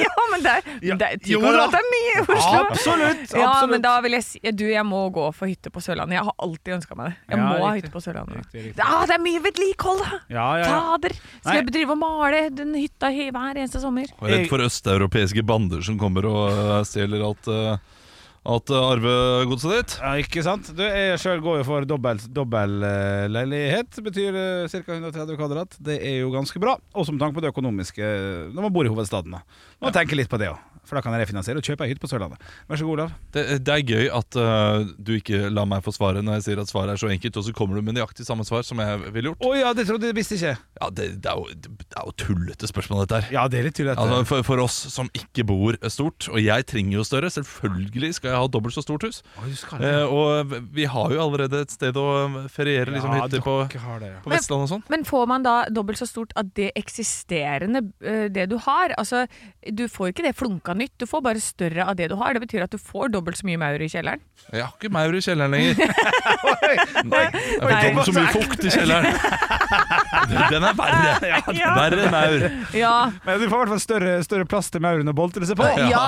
Speaker 5: Ja, men det er,
Speaker 7: Ja,
Speaker 5: det er ti
Speaker 7: jo da.
Speaker 5: kvadrat er mye i Oslo.
Speaker 7: Absolutt,
Speaker 5: Ja,
Speaker 7: absolutt.
Speaker 5: men da vil jeg si Du, jeg må gå for hytte på Sørlandet. Jeg har alltid ønska meg det. Jeg
Speaker 7: Ja,
Speaker 5: må ha
Speaker 7: riktig.
Speaker 5: hytte på Sørlandet.
Speaker 7: Riktig, riktig.
Speaker 5: Ah, det er mye vedlikehold, da!
Speaker 7: Ja, ja, ja.
Speaker 5: Fader! Skal jeg drive og male den hytta he- hver eneste sommer?
Speaker 6: Jeg er redd for østeuropeiske bander som kommer og øh, stjeler alt, øh, alt øh, arvegodset ditt.
Speaker 7: Ja, ikke sant? Du, jeg sjøl går jo for dobbel, dobbel eh, leilighet. Betyr uh, ca. 130 kvadrat. Det er jo ganske bra. Og som tanke på det økonomiske eh, når man bor i hovedstaden. da. Må tenke litt på det òg. For da kan jeg refinansiere og kjøpe ei hytte på Sørlandet. Vær så god, Olav.
Speaker 6: Det, det er gøy at øh, du ikke lar meg få svaret når jeg sier at svaret er så enkelt, og så kommer du med nøyaktig samme svar som jeg ville gjort.
Speaker 7: Å ja, det trodde jeg visste ikke.
Speaker 6: Ja, det, det, er jo, det er jo tullete spørsmål, dette her.
Speaker 7: Ja, det er litt tydelig. at-
Speaker 6: Altså, for, for oss som ikke bor stort, og jeg trenger jo større, selvfølgelig skal jeg ha dobbelt så stort hus.
Speaker 7: Å, du skal det.
Speaker 6: Eh, og vi har jo allerede et sted å feriere, liksom
Speaker 7: Ja,
Speaker 6: hytter på,
Speaker 7: dere har det, ja.
Speaker 6: på Vestlandet og sånn.
Speaker 5: Men får man da dobbelt så stort av det eksisterende, øh, det du har? Altså, du får ikke det flunka nytt, du får bare større av det du har. Det betyr at du får dobbelt så mye maur i kjelleren.
Speaker 6: Jeg har ikke maur i kjelleren lenger. Jeg får
Speaker 5: Nei.
Speaker 6: dobbelt så mye fukt i kjelleren. Den er verre. Verre enn maur.
Speaker 5: Ja,
Speaker 7: Men du får i hvert fall større, større plass til mauren å boltre seg på.
Speaker 5: ja.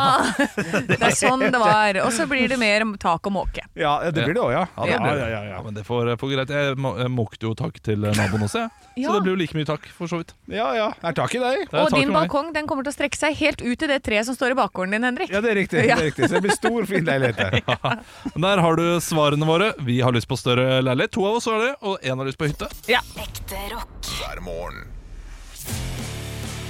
Speaker 5: Det er sånn det var. Og så blir det mer tak og måke.
Speaker 7: Ja, det blir det òg, ja.
Speaker 6: Ja, det blir det.
Speaker 7: ja, ja,
Speaker 6: Ja, men det får, får greit. Jeg må- jeg måkte jo takk til naboen også, jeg.
Speaker 5: Ja.
Speaker 6: Så det blir jo like mye takk, for så vidt.
Speaker 7: ja. ja. Det er tak i deg.
Speaker 6: Det er
Speaker 5: Og
Speaker 6: takk
Speaker 5: din
Speaker 6: til meg.
Speaker 5: balkong den kommer til å strekke seg helt ut til det treet som står i bakgården din, Henrik.
Speaker 7: Ja, det er riktig. Det er riktig. Så det blir stor, fin leilighet der.
Speaker 6: Der har du svarene våre. Vi har lyst på større leilighet. To av oss har det, og én har lyst på hytte.
Speaker 8: Ekte rock.
Speaker 4: hver morgen.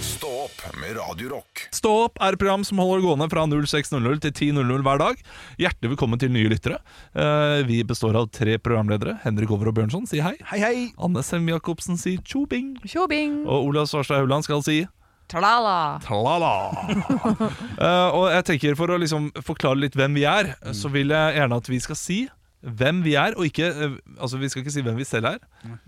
Speaker 4: Stå opp med Radio Rock.
Speaker 6: Stå opp er et program som holder gående fra 06.00 til 10.00 hver dag. Hjertelig velkommen til nye lyttere. Eh, Vi består av tre programledere. Henrik Over og Bjørnson sier hei.
Speaker 7: Hei, hei.
Speaker 6: Anne Sem Jacobsen sier tjobing.
Speaker 5: Tjobing!
Speaker 6: Og Olav Svarstad Hauland skal si
Speaker 5: Tralala!
Speaker 6: tralala. Eh, og jeg tenker for å liksom forklare litt hvem vi er,
Speaker 7: Mm.
Speaker 6: så vil jeg gjerne at vi skal si hvem vi er, og ikke eh, Altså, vi skal ikke si hvem vi selv er.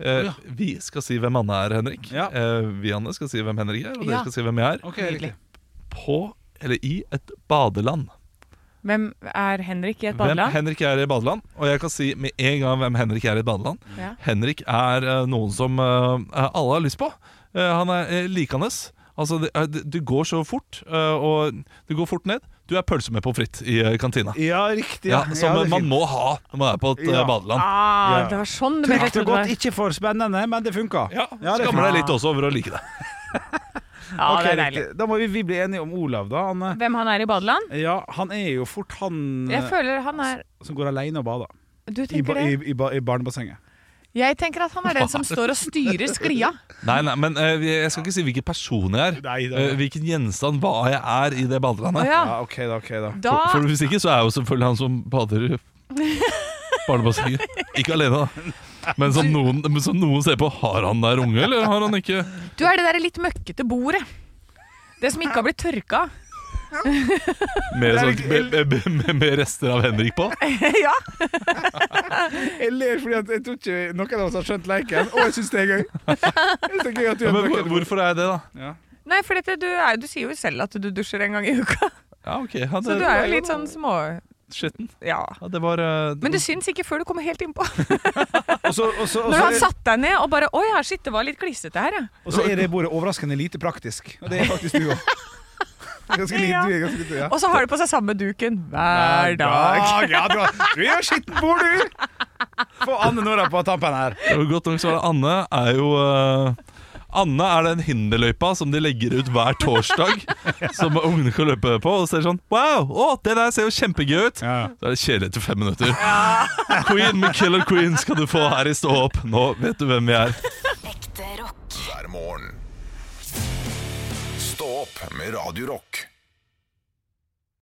Speaker 6: Eh, vi skal si hvem Anne er, Henrik.
Speaker 7: Ja.
Speaker 6: Eh, vi, Anne, skal si hvem Henrik er, og dere
Speaker 5: Ja.
Speaker 6: skal si hvem jeg er.
Speaker 7: Ok, riktig.
Speaker 6: På, eller i, et badeland.
Speaker 5: Hvem er Henrik i et
Speaker 6: Hvem
Speaker 5: badeland?
Speaker 6: Henrik er i et badeland. Og jeg kan si med en gang hvem Henrik er i et badeland.
Speaker 5: Ja.
Speaker 6: Henrik er eh, noen som eh, alle har lyst på. Eh, han er uh, likende. Altså, det, eh, det- du går så fort, eh, og du går fort ned. Du er pølse med pommes frites i eh, kantina.
Speaker 7: Ja, riktig.
Speaker 6: Ja, som
Speaker 7: det er
Speaker 6: eh, man
Speaker 7: fint.
Speaker 6: må ha når man er på et eh,
Speaker 7: Ja.
Speaker 6: badeland.
Speaker 5: Ah,
Speaker 7: Ja.
Speaker 5: det var sånn du
Speaker 7: Trygt
Speaker 5: mente
Speaker 7: og
Speaker 5: det var.
Speaker 7: godt, ikke for spennende, men det funka.
Speaker 6: Ja,
Speaker 7: det
Speaker 6: Skammer
Speaker 7: funka.
Speaker 6: deg litt også over å like det.
Speaker 5: Ja,
Speaker 7: Ok,
Speaker 5: det er
Speaker 7: riktig.
Speaker 5: deilig.
Speaker 7: Da må vi, vi bli enige om Olav, da. Han, eh,
Speaker 5: Hvem han er i badeland?
Speaker 7: ja, han er jo fort han eh,
Speaker 5: Jeg føler han er
Speaker 7: som går alene og bader.
Speaker 5: Du
Speaker 7: I, ba,
Speaker 5: tenker
Speaker 7: i,
Speaker 5: det?
Speaker 7: i, ba, I barnebassenget.
Speaker 5: Jeg tenker at han er den som står og styrer sklia.
Speaker 6: Nei, nei, men eh, jeg skal ikke si hvilken person jeg er.
Speaker 7: Nei, det er-
Speaker 6: Eh, hvilken gjenstand, hva jeg er i det
Speaker 5: Å
Speaker 6: badelandet.
Speaker 5: ja.
Speaker 7: Ja, ok da, ok da.
Speaker 5: Da
Speaker 6: For, for hvis ikke, så er jo selvfølgelig han som bader i barnebassenget. Ikke alene, da. Men som, noen, men som noen ser på, har han der unge, eller har han ikke?
Speaker 5: Du er det der litt møkkete bordet. Det som ikke har blitt tørka.
Speaker 6: Med, sånn, med, med, med, med rester av Henrik på?
Speaker 5: ja.
Speaker 7: Jeg ler fordi at jeg tror ikke noen av oss har skjønt leken, og jeg syns det er gøy. Jeg synes det er gøy at du
Speaker 6: Ja,
Speaker 7: har
Speaker 6: men
Speaker 7: brukt
Speaker 6: hvor-
Speaker 7: det.
Speaker 6: hvorfor er jeg det, da?
Speaker 5: Nei, for dette, du, er, du sier jo selv at du dusjer en gang i uka.
Speaker 6: Ja, ok ja, det,
Speaker 5: Så du er jo litt sånn små...
Speaker 6: Skitten.
Speaker 5: Ja.
Speaker 6: Ja, det var eh,
Speaker 5: Men det syns ikke før du kommer helt innpå.
Speaker 7: Og så- og så- og
Speaker 5: Når
Speaker 7: så-
Speaker 5: han satte deg ned og bare Oi, her, shit, det var litt klissete her, ja.
Speaker 7: Og så er det bordet overraskende lite praktisk. Og det er faktisk du òg. Ganske lite. du er Ganske lite ja.
Speaker 5: Og så har de på seg samme duken hver dag.
Speaker 7: Ja, du, har, du er jo skitten bord, du! Få Anne Nora på tampen her.
Speaker 6: Det var godt nok så var det Anne er jo eh, Anne er den hinderløypa som de legger ut hver torsdag. Som ungene kan løpe på. Og ser sånn Wow, å, det der ser jo kjempegøy ut!
Speaker 7: Ja.
Speaker 6: Så er det kjedelig etter fem minutter. Queen med Killer Queen skal du få her i Stå opp. Nå vet du hvem vi er.
Speaker 8: Ekte rock.
Speaker 4: hver morgen. Stå opp med Radio Rock.